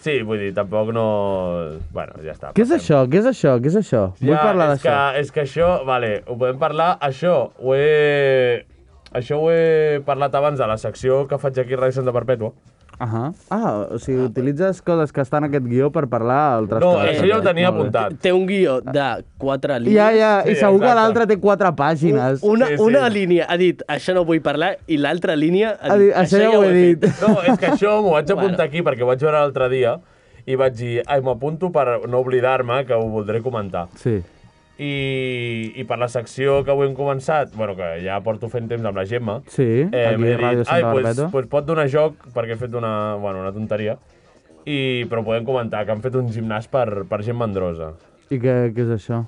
Sí, vull dir, tampoc no... Bueno, ja està.
Què és
passem.
això? Què és això? Què és això? Vull
Ja,
parlar
és que,
d'això.
és que això... Vale, ho podem parlar. Això ho he... Això ho he parlat abans de la secció que faig aquí a Ràdio Santa Perpètua.
Ahà. Ah, o sigui, utilitzes coses que estan en aquest guió per parlar altres
No,
coses.
això ja ho tenia
Molt bé.
apuntat.
Té un guió de quatre línies.
Ja, ja, i
Sí,
segur que
exacte.
l'altre té quatre pàgines.
Una,
Sí,
sí,
sí.
sí. una línia ha dit, això no vull parlar, i l'altra línia ha
Ha
dit,
dit, "Això ja ho he
fet".
dit.
No, és que això m'ho
*laughs*
vaig
Bueno.
apuntar aquí perquè ho vaig veure l'altre dia i vaig dir, ai, m'apunto per no oblidar-me, que ho voldré comentar.
Sí.
I, I per la secció que avui hem començat, bueno, que ja porto fent temps amb la Gemma,
Sí,
Eh,
aquí
m'he
a Ràdio
dit, ai,
Santa
pues,
Barbeta.
pues pot donar joc, perquè he fet una, bueno, una tonteria, i, però podem comentar que han fet un gimnàs per, per gent mandrosa.
I què, què és això?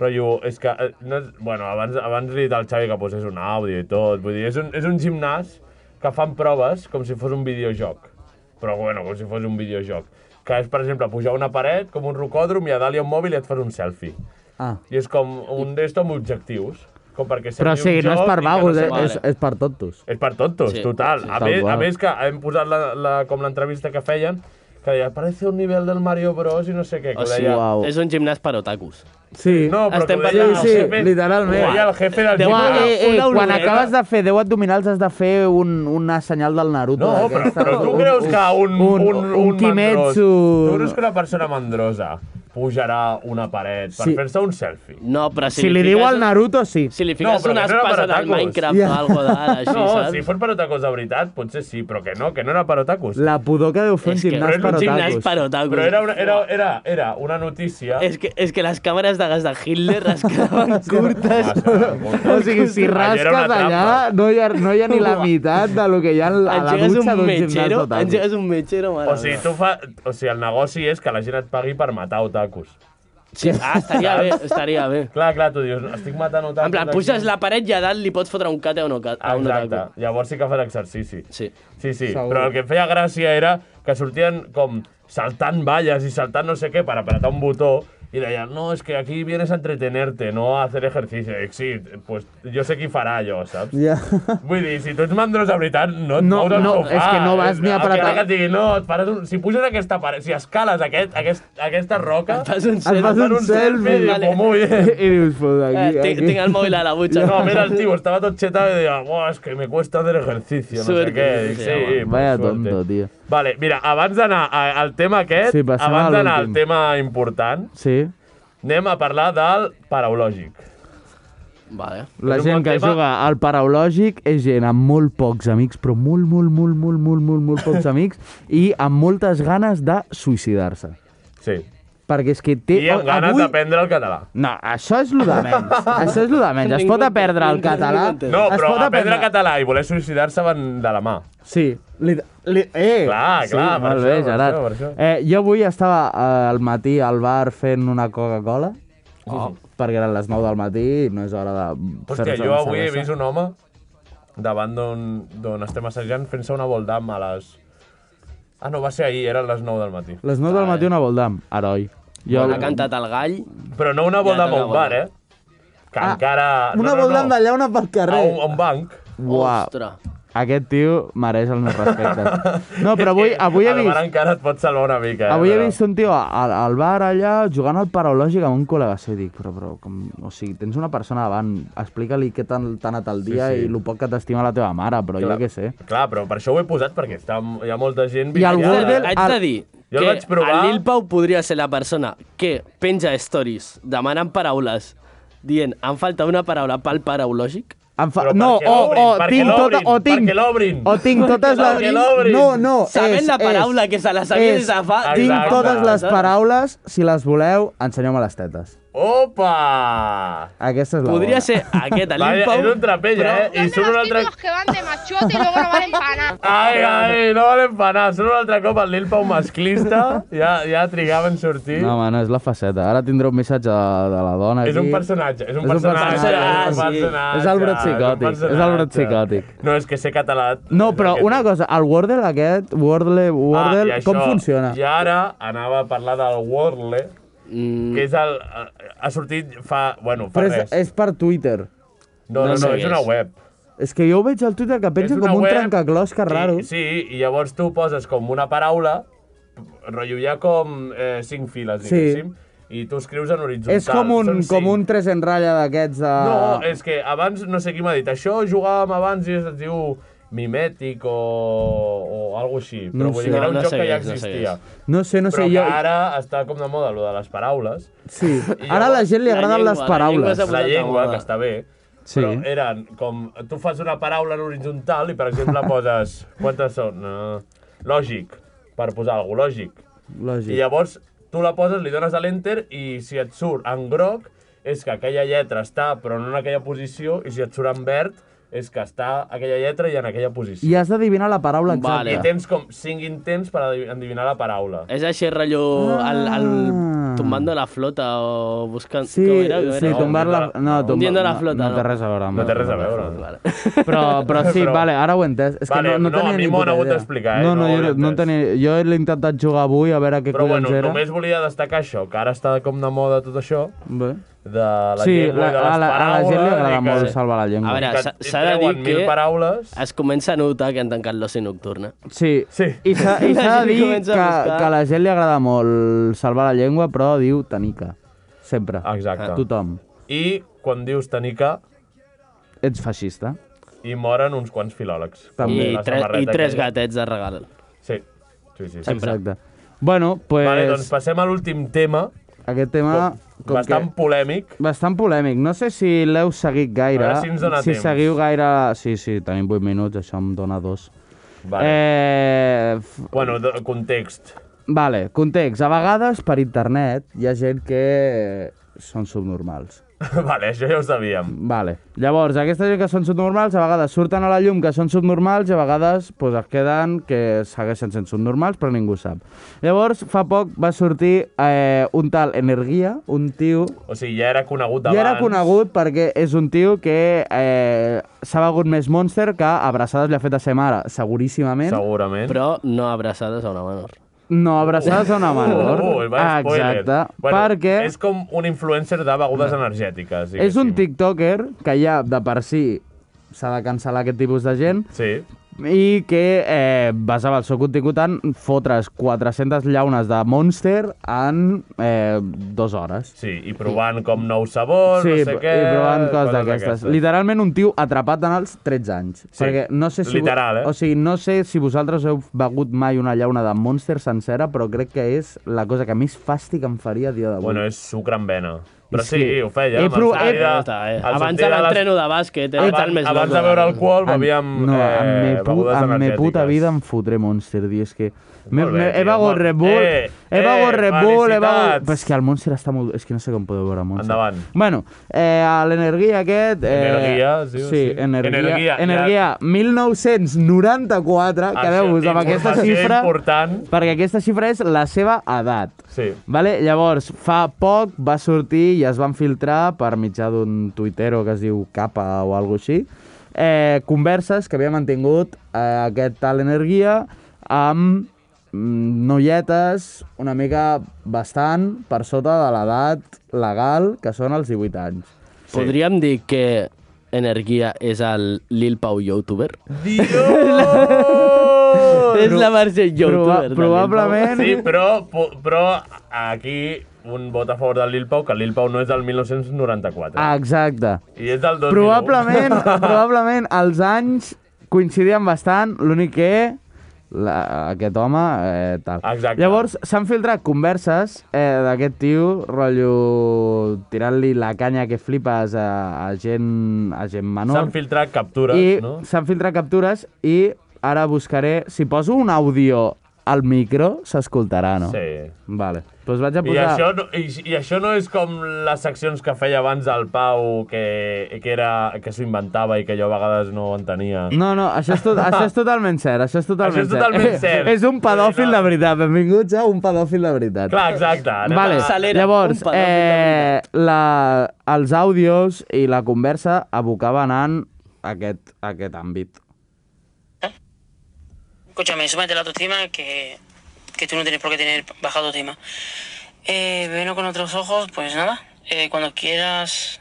Rotllo, és que... eh, No és, bueno, abans, abans li he dit al Xavi que posés un àudio i tot. Vull dir, és un, és un gimnàs que fan proves com si fos un videojoc. Però, bueno, com si fos un videojoc. Que és, per exemple, pujar una paret com un rocòdrom i a dalt hi ha un mòbil i et fas un selfie.
Ah.
I és com un d'esto amb objectius. Com perquè
Però o
sigui
sigui,
un
no és
joc
per
i que
vagos,
se
eh?
vagi.
és, és per tontos.
És per tontos,
Sí,
total.
sí,
a,
tal
més, a
qual.
més que hem posat la, la, com l'entrevista que feien, que deia, parece un nivell del Mario Bros i no sé què. Que
O
ho
sigui,
deia,
uau.
és un gimnàs per otakus.
Sí.
No, però
Estem
que ho deia el
parlant- Sí,
sí,
jefe-
literalment.
Ho deia el jefe del
Uau,
Uau,
gimnàs.
eh, eh,
una
quan
oloreta.
acabes de fer 10 abdominals has de fer un, una senyal del Naruto.
No, però,
d'aquesta.
però tu creus que un, un, un,
un
mandrós-
Kimetsu...
Tu creus que una persona mandrosa pujarà una paret per
Sí.
fer-se un selfie?
No, però si,
Si li
fiques-
diu al Naruto, sí.
Si li
No,
fiques
però
una
que no era per
espasa del
otakus.
Minecraft
Ja.
o alguna cosa així,
No,
saps?
si fos per otakus de veritat, potser sí, però que no, que no era per otakus.
La pudor que deu fer un
és que
gimnàs
és
per
un gimnàs
otakus.
per otakus.
Però era una, era, era, era una notícia... *laughs*
*laughs* És que, és que les càmeres de gas de Hitler
*laughs*
es quedaven curtes.
O sigui, si
Allò era una
rasques allà,
trampa.
no hi ha, no hi ha ni la meitat de lo que hi ha a la
Engegues
dutxa
un
d'un gimnàs
metgero,
d'otakus.
engegues un metgero, mare
O sigui, tu fa... o sigui, el negoci és que la gent et pagui per matar otakus.
meva. Sí, ah,
*laughs*
estaria bé, estaria bé.
Clar, clar, tu dius, estic matant otakus...
En plan,
aquí".
puges la paret i a dalt li pots fotre un cate a un, oca- a un
Exacte,
otaku.
llavors sí que fan exercici.
Sí.
Sí, sí,
Segur.
però el que em feia gràcia era que sortien com saltant valles i saltant no sé què per apretar un botó i deien, no, és que aquí vienes a entretenerte, no a hacer ejercicio. Dic, sí, pues jo sé qui farà allò, saps?
Ja.
Vull dir, si tu ets mandros de veritat, no et
No,
mous al
no,
sofà.
és que no vas ni a
Encara
apretar-
eh? Que et digui, no, et pares un... Si puges aquesta paret, si escales aquest, aquest, aquesta roca...
Fas un
Et fas
selfie.
un selfie.
i
Vale.
dius, "Oh, muy bien".
*laughs* I dius, pues,
Eh,
aquí,
tinc, tinc
aquí.
el mòbil a la butxa.
*laughs* No, mira, el tío estaba todo chetado y decía, Buah, es que me cuesta hacer ejercicio, no
Suerte,
sé qué. Dic,
sí,
Sí,
sí,
pues,
Vaya
suerte.
tonto, tio.
Vale, mira, abans d'anar a- al tema aquest,
Sí, passem
abans
a
d'anar al
l'últim.
tema important,
Sí,
anem a parlar del paraulògic.
Vale.
la
És un
gent
bon
que
tema.
juga al paraulògic és gent amb molt pocs amics, però molt, molt, molt, molt, molt, molt, molt pocs amics i amb moltes ganes de suïcidar-se.
Sí.
Perquè és que té...
I amb ganes
avui...
d'aprendre el català.
No, això és lo de menys. això és lo de menys. Es pot aprendre el català...
No,
es
però
pot
aprendre català i voler suïcidar-se van de la mà.
Sí. Li, li, eh!
Clar,
sí,
clar, per
molt
això,
bé,
per
Gerard.
això, per això.
Eh, jo avui estava eh, al matí al bar fent una Coca-Cola, oh. perquè eren les 9 del matí i no és hora de...
Hòstia, jo avui he vist un home davant d'on d'on estem assajant fent-se una voldam a les... Ah, no, va ser ahir, eren les 9 del matí.
Les 9 del matí una voldam, heroi. Jo,
Quan ha cantat el gall,
Però no una voldam a
toca
un bar,
voldam.
eh? Que
Ah,
encara...
Una voldam d'allà, una pel
A
carrer.
un, a un banc.
Uau,
ostres.
aquest tio mereix el
*laughs*
meu respecte. No, però
Eh,
avui, avui he
El bar
vist...
encara et pot salvar una mica, eh?
Avui he
però-
vist un tio al, al bar allà jugant al paraulògic amb un col·lega seu. Dic, però, però com, o sigui, tens una persona davant, explica-li què t'han t'ha anat el dia
sí.
i lo poc que t'estima la teva mare, però jo què sé.
Clar, però per això ho he posat, perquè està, hi ha molta gent...
I el
viciada.
Wordle-
Haig de
el-
dir
Jo el
que
vaig provar.
el Lil Pau podria ser la persona que penja stories demanant paraules dient em falta una paraula pel paraulògic.
Em fa...
Però
No,
perquè
o,
l'obrin,
o,
perquè l'obrin,
tinc tota, o tinc...
perquè l'obrin.
O tinc totes les...
Perquè l'obrin.
No, no,
Sabent
és,
la paraula
és,
que se la sabia
és,
des de fa- eh?
Tinc
Exacte.
totes les paraules, si les voleu, ensenyeu-me les tetes.
Opa!
Aquesta és la
Podria
bona.
ser aquest, el Lil
Vaya,
Pau.
és un trapella, eh? I surt un altre...
que van de machote y luego no van empanar.
Ai, ai, no valen panar. Surt un altre cop el Lil Pau masclista. Ja, ja trigava en sortir.
No, home, no, és la faceta. Ara tindré un missatge de, de la dona aquí.
és un personatge, és un
És un
personatge.
personatge,
és un
sí.
personatge,
És el Brot
un
Psicòtic, és el
personatge.
Brot Psicòtic.
No, és que sé català.
No, però una cosa, el Wordle aquest, Wordle, Wordle,
Ah, i
com funciona?
I ara anava a parlar del Wordle, que és el... eh, Ha sortit fa... Bueno, fa
Mm. Però és,
res.
és per Twitter.
No, no,
no sé
no,
què
és una
és.
web.
És que jo ho veig al Twitter que pensa
És
com
una
un
web
trencaclòs que
i-
raro.
Sí, i llavors tu poses com una paraula, rotllo ja com eh, cinc files,
Sí.
diguéssim, i tu escrius en horitzontal.
és com un,
són cinc.
com un tres en ratlla d'aquests de...
No, eh, és que abans, no sé qui m'ha dit, això jugàvem abans i es diu mimètic o, o alguna així. Però
No
vull
sé.
dir que era un
No, no
joc
sé
que
què
ja
és, no sé què
existia.
no sé, no
Però
sé,
que
jo...
ara està com de moda, lo de les paraules.
Sí.
*laughs* I
Ara a la
llavors,
gent li
la
agraden
llengua,
les
la llengua
paraules.
és
la
posat de
llengua,
moda.
que està bé,
Sí.
però eren com... Tu fas una paraula en horitzontal i, per exemple, *laughs* poses... Quantes són? Uh, lògic, per posar alguna lògic. I
Lògic.
llavors tu la poses, li dones a l'enter i si et surt en groc és que aquella lletra està però no en aquella posició i si et surt en verd és que està aquella lletra i en aquella posició.
I has d'adivinar la paraula exacta.
I
Vale.
tens com 5 intents per adiv- endevinar la paraula.
És així, rotllo, el, el
Ah.
tombando la flota o buscant...
Sí,
com era, com era?
sí, tombar la... No,
No.
tombar...
Hundiendo la flota,
no,
no.
té res a veure. amb
No té
la-
res a veure.
*laughs* Però, però sí,
*laughs* Però-
vale, ara ho he entès. És
Vale,
que no, no,
no, a
tenia
mi
ni
m'ho han
puta
hagut
idea.
d'explicar, eh,
No,
no
no,
ho he
jo, no
entès.
tenia... jo he intentat jugar avui a veure què
Però bueno,
collons era.
només volia destacar això, que ara està com de moda tot això,
Bé.
de la
sí,
llengua
la,
i de les
a, la, a la
paraules...
gent li agrada
i que-
molt salvar la llengua.
A veure,
que
s'ha-
et
s'ha de dir
treuen mil
que-
paraules...
Es comença a notar que han tancat l'oci nocturn.
Sí.
Sí.
I s'ha *laughs* i
La
s'ha
gent
de dir
comença a
que,
buscar.
que a la gent li agrada molt salvar la llengua, però diu tanica. Sempre.
Exacte.
Tothom.
I quan dius tanica,
Ets feixista.
hi moren uns quants filòlegs.
També.
I,
La
tre I
samarreta
tres
aquella.
gatets de regal.
Sí, sí, sí. sí.
Sempre.
Exacte. Bueno, pues,
Vale, doncs passem a l'últim tema,
aquest tema... Com
bastant
que,
polèmic.
bastant polèmic. No sé si l'heu seguit gaire.
A veure si ens dona temps.
seguiu gaire... Sí, sí, tenim 8 minuts, això em dona dos.
Vale.
Eh, f-
Bueno, de, context. *laughs*
vale, context. A vegades, per internet, hi ha gent que són subnormals.
vale, això ja ho sabíem.
Vale. Llavors, aquesta gent que són subnormals, a vegades surten a la llum que són subnormals i a vegades pues, es queden que segueixen sent subnormals, però ningú ho sap. Llavors, fa poc va sortir eh, un tal Energia, un tio...
O sigui, ja era conegut
Ja
abans.
era conegut perquè és un tio que eh, s'ha begut més Monster que abraçades li ha fet a ser mare, seguríssimament.
Segurament.
Però no abraçades a una menor.
No, abraçades a una menor.
Uh, va, spoiler.
Exacte.
Bueno,
perquè...
És com un influencer de begudes energètiques.
És
diguéssim.
un tiktoker que ja de per si s'ha de cancel·lar aquest tipus de gent
Sí.
i que eh, basava el seu contingut en fotre's 400 llaunes de Monster en eh, dues hores.
Sí, i provant com nous sabors,
sí,
no sé què...
i provant coses
coses
d'aquestes. Literalment un tio atrapat en els 13 anys.
Sí,
perquè no sé si
literal, eh?
O sigui, no sé si vosaltres heu begut mai una llauna de Monster sencera, però crec que és la cosa que més fàstic em faria a dia d'avui.
Bueno, és sucre amb vena. Però sí,
Sí.
ho feia.
He
amb el
provat-
sortir
he-
de-
Ja està, eh?
al sortir
Abans
de
de
les-
l'entreno de bàsquet, era tan més
Abans, abans de
loco.
beure alcohol,
En-
bevíem
no,
eh,
en me, pu
begudes
en me puta
energètiques.
vida em fotré Monster, tio, és que... Me,
Molt bé,
me, he
tio,
begut
molt-
Red Bull,
Eh,
he
eh,
begut Red Bull, he
felicitats.
begut... Però és que el Monster està molt... És que no sé com podeu veure Monster.
Endavant.
Bueno, eh, a l'energia aquest... Eh,
Energia, sí,
sí.
sí.
Energia,
Energia,
energia,
ja. Ah,
1994, quedeu-vos amb aquesta
informació
xifra,
important.
perquè aquesta xifra és la seva edat.
Sí.
Vale, llavors, fa poc va sortir i es van filtrar per mitjà d'un tuitero que es diu Capa o alguna així, eh, converses que havia mantingut eh, aquest tal energia amb mm, noietes una mica bastant per sota de l'edat legal, que són els 18 anys.
Sí. Podríem dir que Energia és el Lil Pau youtuber? és la versió youtuber. de Lil Pau.
Sí, però, po- però aquí un vot a favor del Lil Pau, que el Lil Pau no és del 1994.
Ah, exacte.
I és del 2009. *laughs*
Probablement, probablement els anys coincidien bastant, l'únic que la, aquest home... Eh, tal.
Exacte.
Llavors, s'han filtrat converses eh, d'aquest tio, rotllo tirant-li la canya que flipes a, a, gent, a gent menor.
S'han filtrat captures,
I
no?
s'han filtrat captures i ara buscaré... Si poso un àudio al micro, s'escoltarà, no?
Sí.
Vale. Doncs vaig a
I
posar...
això, no, i, I això no és com les seccions que feia abans el Pau, que, que, era- que s'ho inventava i que jo a vegades no ho entenia.
No, no, això
*laughs*
és, tot, això és totalment cert, això és totalment,
Això és totalment
Eh,
cert.
és un pedòfil de veritat, benvinguts a un pedòfil de veritat.
Clar, exacte. anem
Vale,
a-
llavors, eh, la, els àudios i la conversa abocaven en aquest, aquest àmbit.
Escúchame, súmate la autoestima que, que tú no tienes por qué tener baja autoestima. Eh, velo con otros ojos, pues nada. Eh, cuando quieras,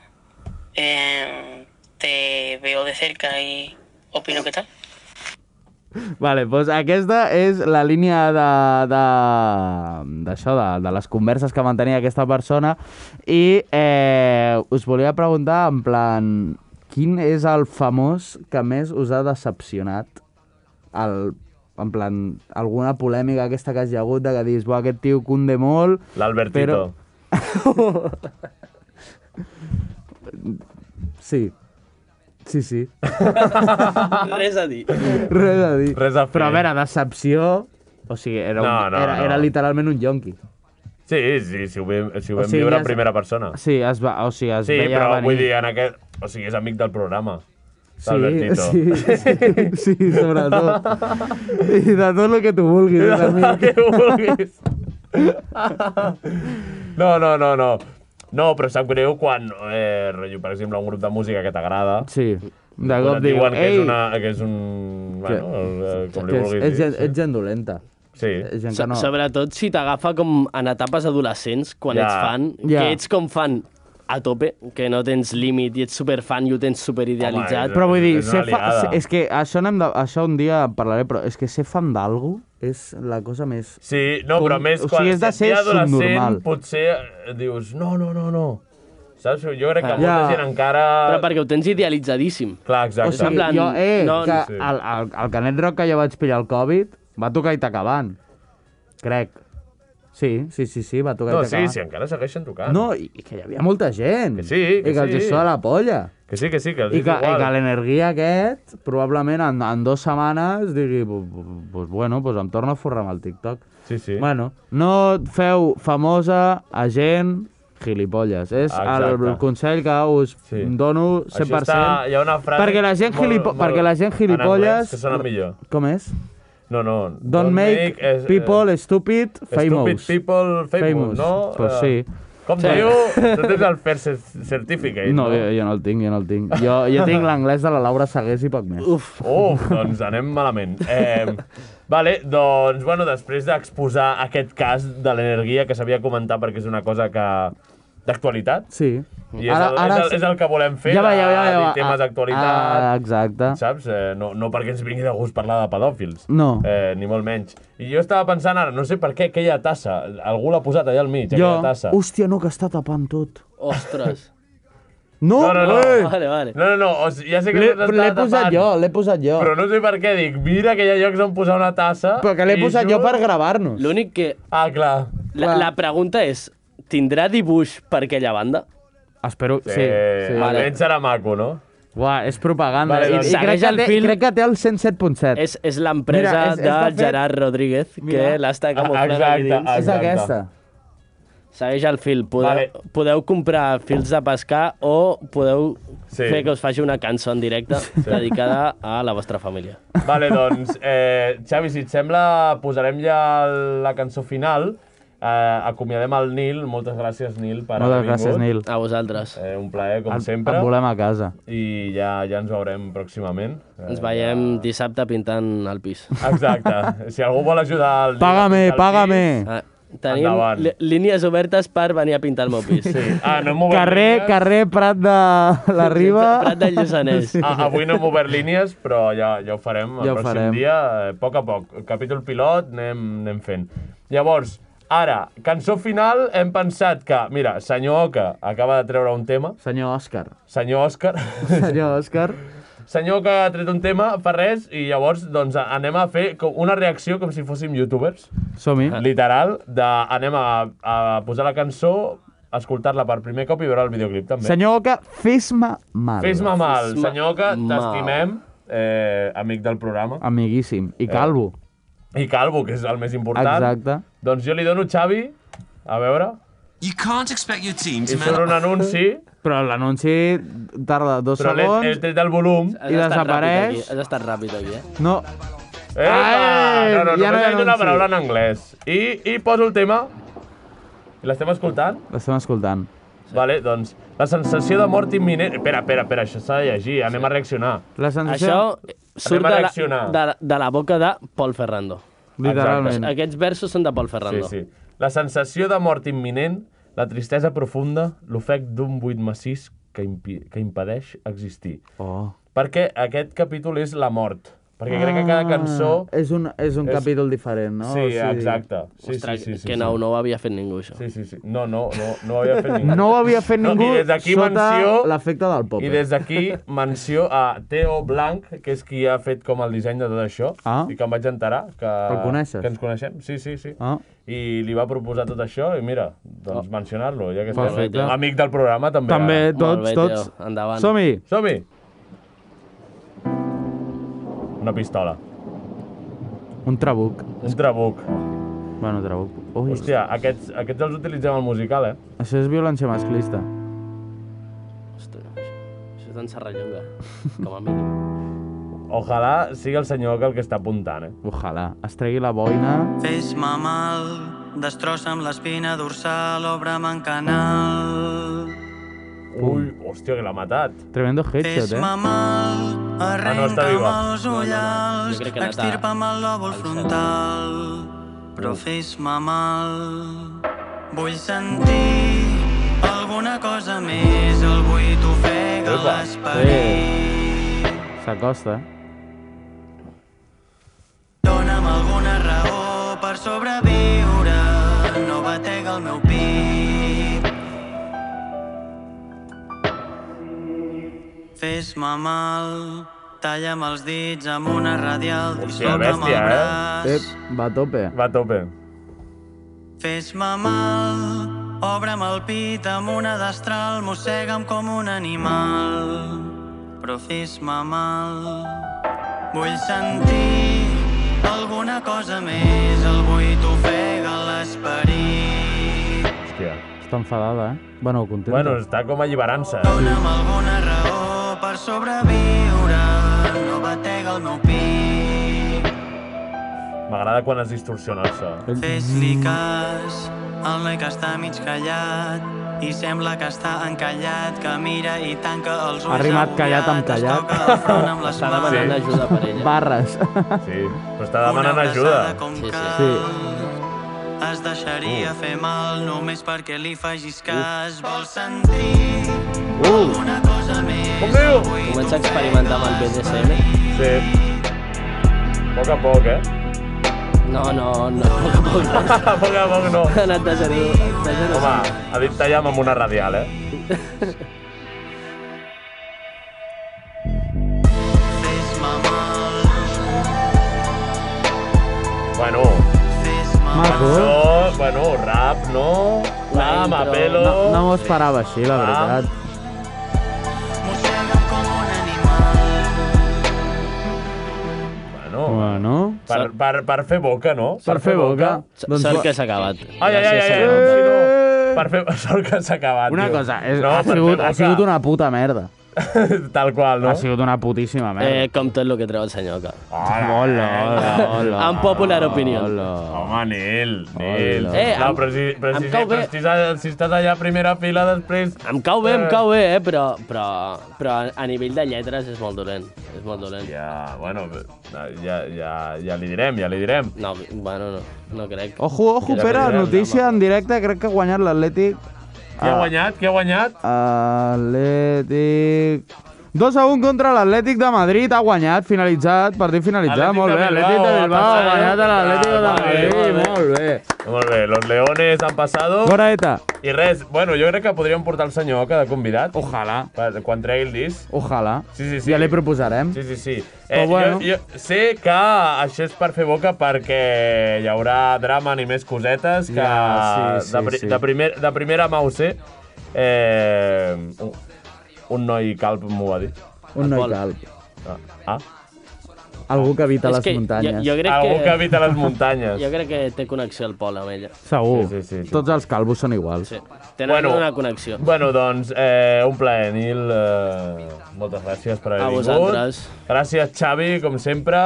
eh, te veo de cerca y opino qué tal.
Vale, doncs aquesta és la línia d'això, de, de, d'això, de, de les converses que mantenia aquesta persona i eh, us volia preguntar en plan quin és el famós que més us ha decepcionat el, en plan alguna polèmica aquesta que hagi hagut de que dius, buah, aquest tio cunde molt
L'Albertito.
Sí, sí, sí
*laughs*
*laughs*
Res a dir.
res a dir
Res a fer.
però a veure, decepció o sigui, era, un,
No, no,
era,
no.
era literalment un yonqui
Sí, sí, si ho vam, si ho
O
vam
sigui,
viure
ja
en
es-
primera persona.
Sí, es va, o sigui, es
sí,
veia
però
venir.
vull dir, en aquest... O sigui, és amic del programa.
Sí,
d'Albertito.
sí, sí, sí,
*laughs*
sobretot. I de tot el que tu vulguis,
De tot *laughs*
amic.
el que vulguis. No, no, no, no. No, però sap greu quan, eh, rotllo, per exemple, un grup de música que t'agrada...
Sí, de
quan
cop
et diuen
diuen,
que és,
"Ei!"
una, que és un... Bueno, eh, com li
Que és,
vulguis dir.
és, gent, ets gent dolenta.
Sí.
És gent
So,
que no...
Sobretot si t'agafa com en etapes adolescents, quan
Ja.
ets fan,
Ja.
que ets com fan a tope, que no tens límit i ets superfan i ho tens superidealitzat.
Però vull dir, ser fa... ser- és que això, anem de... això un dia en parlaré, però és que ser fan d'algú és la cosa més...
Sí, no, però
Com-
més
o
quan
sigui, és de
si
ser
ets adolescent,
subnormal.
potser eh, dius, no, no, no, no. Saps? Jo
Ah,
crec que
Ja.
molta gent encara...
Però perquè ho tens idealitzadíssim.
Clar,
O
exacte.
sigui, plan, jo, eh, no, que
sí.
el, el, el Canet Rock que jo vaig pillar el Covid va tocar Itacabant, crec. Sí, sí, sí, sí, va tocar
No, sí,
Itacabant.
sí, encara segueixen tocant.
No, i, i que hi havia molta gent. Que
sí, que
I que els
sí.
hi sona la polla.
Que sí, que sí, que els
I
és
que, i
igual.
que l'energia aquest, probablement en, en dues setmanes, digui, pues bueno, pues em torno a forrar amb el TikTok.
Sí, sí.
Bueno, no feu famosa a gent gilipolles. És
Exacte.
el consell que us sí. dono 100%.
Això està, hi ha una frase
perquè la gent,
molt-
gilipo
molt-
perquè la gent
en
gilipolles...
anglès, que sona millor.
Com és?
No, no.
Don't, make,
eh,
people stupid famous.
Stupid people famous, no?
Pues
Eh,
sí.
Com
Sí. *laughs*
diu, tu tens el first cer- certificate,
No, eh.
no?
jo, jo no el tinc, jo no el tinc. Jo, jo tinc l'anglès de la Laura Segués i poc més.
Uf. Uf, doncs anem malament. Eh, vale, doncs, bueno, després d'exposar aquest cas de l'energia que s'havia comentat perquè és una cosa que d'actualitat.
Sí.
I és, ara, el, ara, és, el, és el que volem fer,
Ja va, ja va, ja
de
va.
dir temes
Ah,
d'actualitat.
ah, exacte.
Saps? Eh, no, no perquè ens vingui de gust parlar de pedòfils.
No.
Eh, ni molt menys. I jo estava pensant ara, no sé per què, aquella tassa. Algú l'ha posat allà al mig,
Jo,
aquella tassa.
hòstia, no, que està tapant tot.
Ostres.
No,
No, no, no.
eh!
Vale, vale.
No, no, no, o sigui, ja sé que
L'he
nosaltres
l'he
estava
posat
tapant,
jo, l'he posat jo.
Però no sé per què, dic, mira que hi ha llocs on posar una tassa...
Però que l'he
i
posat jo per gravar-nos.
L'únic que...
Ah, clar.
La, la pregunta és, tindrà dibuix per aquella banda?
Espero...
Sí, sí. Eh, Almenys serà maco, no?
Uah, és propaganda.
Vale,
I-
doncs
I, crec,
segueix
que
el
té,
fil.
crec que té el 107.7.
És, és l'empresa
Mira, és-
de,
és de fet-
Gerard Rodríguez,
Mira.
que l'està camuflant.
Ah, Exacte,
aquí dins.
exacte.
És aquesta.
Segueix el fil. Podeu,
Vale.
vale. podeu comprar fils de pescar o podeu
Sí.
sí. fer que us faci una cançó en directe sí. *laughs* dedicada a la vostra família.
Vale, doncs, eh, Xavi, si et sembla, posarem ja la cançó final Eh, acomiadem el Nil. Moltes gràcies, Nil, per
Moltes
haver vingut.
gràcies, Nil.
A vosaltres.
Eh, un plaer, com
Et-
sempre.
et volem a casa.
I ja, ja ens veurem pròximament. Eh,
Ens veiem dissabte pintant el pis.
Exacte. si algú vol ajudar al Nil a
Pàgame,
pintar el
pàgame.
pis,
Ah, tenim
Endavant.
li- línies obertes per venir a pintar el meu pis.
Sí. Ah, no hem obert
Carrer, carrer Prat de
*laughs*
la Riba.
Prat del Lluçanès.
Sí.
Ah, avui no hem obert línies, però ja, ja ho farem el
Ja ho
pròxim
farem.
dia, eh, a poc a poc. El capítol pilot anem, anem fent. Llavors, ara, cançó final, hem pensat que, mira, senyor Oca acaba de treure un tema.
Senyor Òscar.
Senyor Òscar.
Senyor Òscar.
*laughs* Senyor que ha tret un tema, fa res, i llavors doncs, anem a fer com una reacció com si fóssim youtubers.
Som-hi.
Ah. Literal, de, anem a, a posar la cançó, escoltar-la per primer cop i veure el videoclip també.
Senyor Oca, fes-me mal.
Fes-me mal,
Fes-me
senyor Oca,
mal.
t'estimem, eh, amic del programa.
Ah. Amiguíssim. I calvo.
Eh, I Calvo, que és el més important.
Exacte.
Doncs jo li dono Xavi, a veure.
You can't expect your team
I surt un anunci,
Però l'anunci tarda dos
però l'he eh,
segons.
he tret el volum.
I desapareix.
Has estat ràpid aquí, eh?
No.
Eh, no, no,
Ai, ja
només
no hi ha
he dit una
anunci.
paraula en anglès. I, i poso el tema. I L'estem escoltant?
L'estem escoltant.
Vale, doncs, la sensació de mort imminent... Espera, espera, espera, això s'ha de llegir, anem a reaccionar.
La
Això surt
Anem a
de la,
reaccionar.
de, la- de la boca de Paul Ferrando.
Literalment.
Exacte. Aquests versos són de Paul
Sí,
Ferrando.
sí. La sensació de mort imminent, la tristesa profunda, l'ofec d'un buit massís que, impi que impedeix existir.
Oh.
Perquè aquest capítol és la mort. Perquè crec que cada cançó...
Ah, És un, és un
és-
capítol diferent, Ah. no?
Sí, exacte. Sí,
Ostres,
sí, sí, sí,
que
sí.
no, no ho havia fet ningú, això.
Sí, sí, sí. No, no, no, no ho havia fet ningú.
No ho havia fet
No,
ningú
I des d'aquí
sota
menció...
l'efecte del pop.
I des d'aquí menció a Teo Blanc, que és qui ha fet com el disseny de tot això,
Ah.
i que em vaig enterar que,
El coneixes?
que ens coneixem. Sí, sí, sí.
Ah.
I li va proposar tot això i mira, doncs oh. mencionar-lo, ja que
Perfecte.
estem amic del programa també.
També,
ara.
tots, Molt bé, tots. tio. Endavant. Som-hi.
Som-hi. Una pistola,
Un trabuc.
un trabuc.
Bueno, trabuc. Ui,
Hòstia, aquests, aquests els utilitzem al musical, eh?
això és violència masclista.
Ostres, això, això és d'en Serrallonga, com a mínim.
Ojalà sigui el senyor que el que està apuntant, eh?
Ojalà. Es tregui la boina.
Fes-me mal, destrossa'm l'espina dorsal, obre'm en canal.
Mm.
Ui, hòstia, que l'ha matat.
Tremendo headshot, eh?
Fes-me mal,
Ah, no, està
arrenca'm
viva.
els ullals,
crec que ha anat a-
extirpa'm el lòbul frontal. Però fes-me mal, vull sentir alguna cosa més, el buit ofega l'esperit.
S'acosta.
Dóna'm alguna raó per sobreviure, no batega el meu pit. Fes-me mal, talla'm els dits amb una radial, disloca'm el
bèstia, eh?
braç.
Ep, va a tope.
Va a tope.
Fes-me mal, obre'm el pit amb una destral, mossega'm com un animal. Però fes-me mal, vull sentir alguna cosa més, el buit ofega l'esperit.
Hòstia.
Està enfadada, eh? Bueno, contenta.
Bueno, està com alliberant-se.
Dóna'm alguna raó per sobreviure, no batega el meu pit.
M'agrada quan es distorsiona el
*laughs*
so.
Fes-li cas al noi que està mig callat i sembla que està encallat, que mira i tanca els ulls
Ha rimat callat amb
agobiat, es
callat.
toca el front *laughs* amb les
Està demanant
mans.
ajuda per ella. *laughs*
Barres.
Sí, però està demanant ajuda.
Sí,
Sí.
Es deixaria fer mal només perquè li facis cas. Vol sentir alguna cosa més.
Com diu?
Comença a experimentar amb el BDSM.
Sí. A poc a poc, eh? *laughs*
No, no, no, a poc a poc.
a poc a poc no.
Ha anat de zero, de zero.
Home, ha dit tallam amb una radial, eh?
Fes-me mal,
Bueno,
Ah.
fes-me mal.
cançó, bueno, rap, no? Lama, pelo...
No, no m'ho esperava així, la veritat.
Ah.
Mossega'm com un animal.
Bueno,
Bueno.
per, per, per fer boca, no?
Per fer boca.
Doncs sort que s'ha acabat.
Ai, ai, ai, ai, ai,
Gràcies,
no, si no. Per fer... *laughs* Sort que s'ha acabat,
Una
tio.
cosa, és,
No,
ha,
per fer
sigut, ha
boca.
sigut una puta merda.
*laughs* Tal qual, no?
Ha sigut una putíssima merda.
Eh, com tot el que treu el senyor. Que...
Hola,
hola, hola.
En popular opinió.
eh, Home, Nil, Nil.
Hola. Eh,
no,
em-
però si, però
em
si,
cau
sempre
bé.
estàs, si estàs allà a primera fila després...
Em cau bé, em
Eh.
cau bé, eh? però, però, però a nivell de lletres és molt dolent. És molt dolent.
Ja, bueno, ja, ja, ja li direm, ja li direm.
No, bueno, no, no crec.
Ojo, ojo,
Ja
Pere,
li direm,
notícia en directe, crec que ha guanyat l'Atlètic.
Qui
Ah.
ha guanyat? Qui ha guanyat?
Atlètic... 2 a 1 contra l'Atlètic de Madrid, ha guanyat, finalitzat, partit finalitzat, molt bé, Atlètic de Bilbao, ha guanyat a l'Atlètic de Madrid, molt bé.
Molt bé, los leones han pasado.
Goraeta.
I res, bueno, jo crec que podríem portar el senyor que de convidat.
Ojalà.
Quan tregui el disc.
Ojalà.
Sí, sí, sí.
Ja li proposarem.
Sí, sí, sí.
Però
Eh,
bueno.
bueno. jo, jo sé que això és per fer boca perquè hi haurà drama ni més cosetes que
Ja, sí, sí,
de, pri
sí.
De, primer, de primera mà ho sé. Eh, un, un noi calp m'ho va dir.
Un noi calp.
Ah. ah.
Algú que habita
És
les
que jo-
muntanyes.
jo crec
Algú
que-
que habita les muntanyes.
Jo crec que té connexió al Pol amb ella.
Segur.
Sí, sí, sí, sí.
Tots els calvos són iguals.
Sí. Tenen bueno. una connexió.
Bueno, doncs, eh, un plaer, Nil. Eh, moltes gràcies per haver
A
vingut.
vosaltres.
Gràcies, Xavi, com sempre.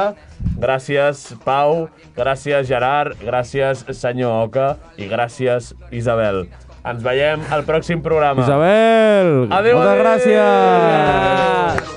Gràcies, Pau. Gràcies, Gerard. Gràcies, senyor Oca. I gràcies, Isabel. Ens veiem al pròxim programa.
Isabel,
Adéu,
moltes
adéu.
gràcies.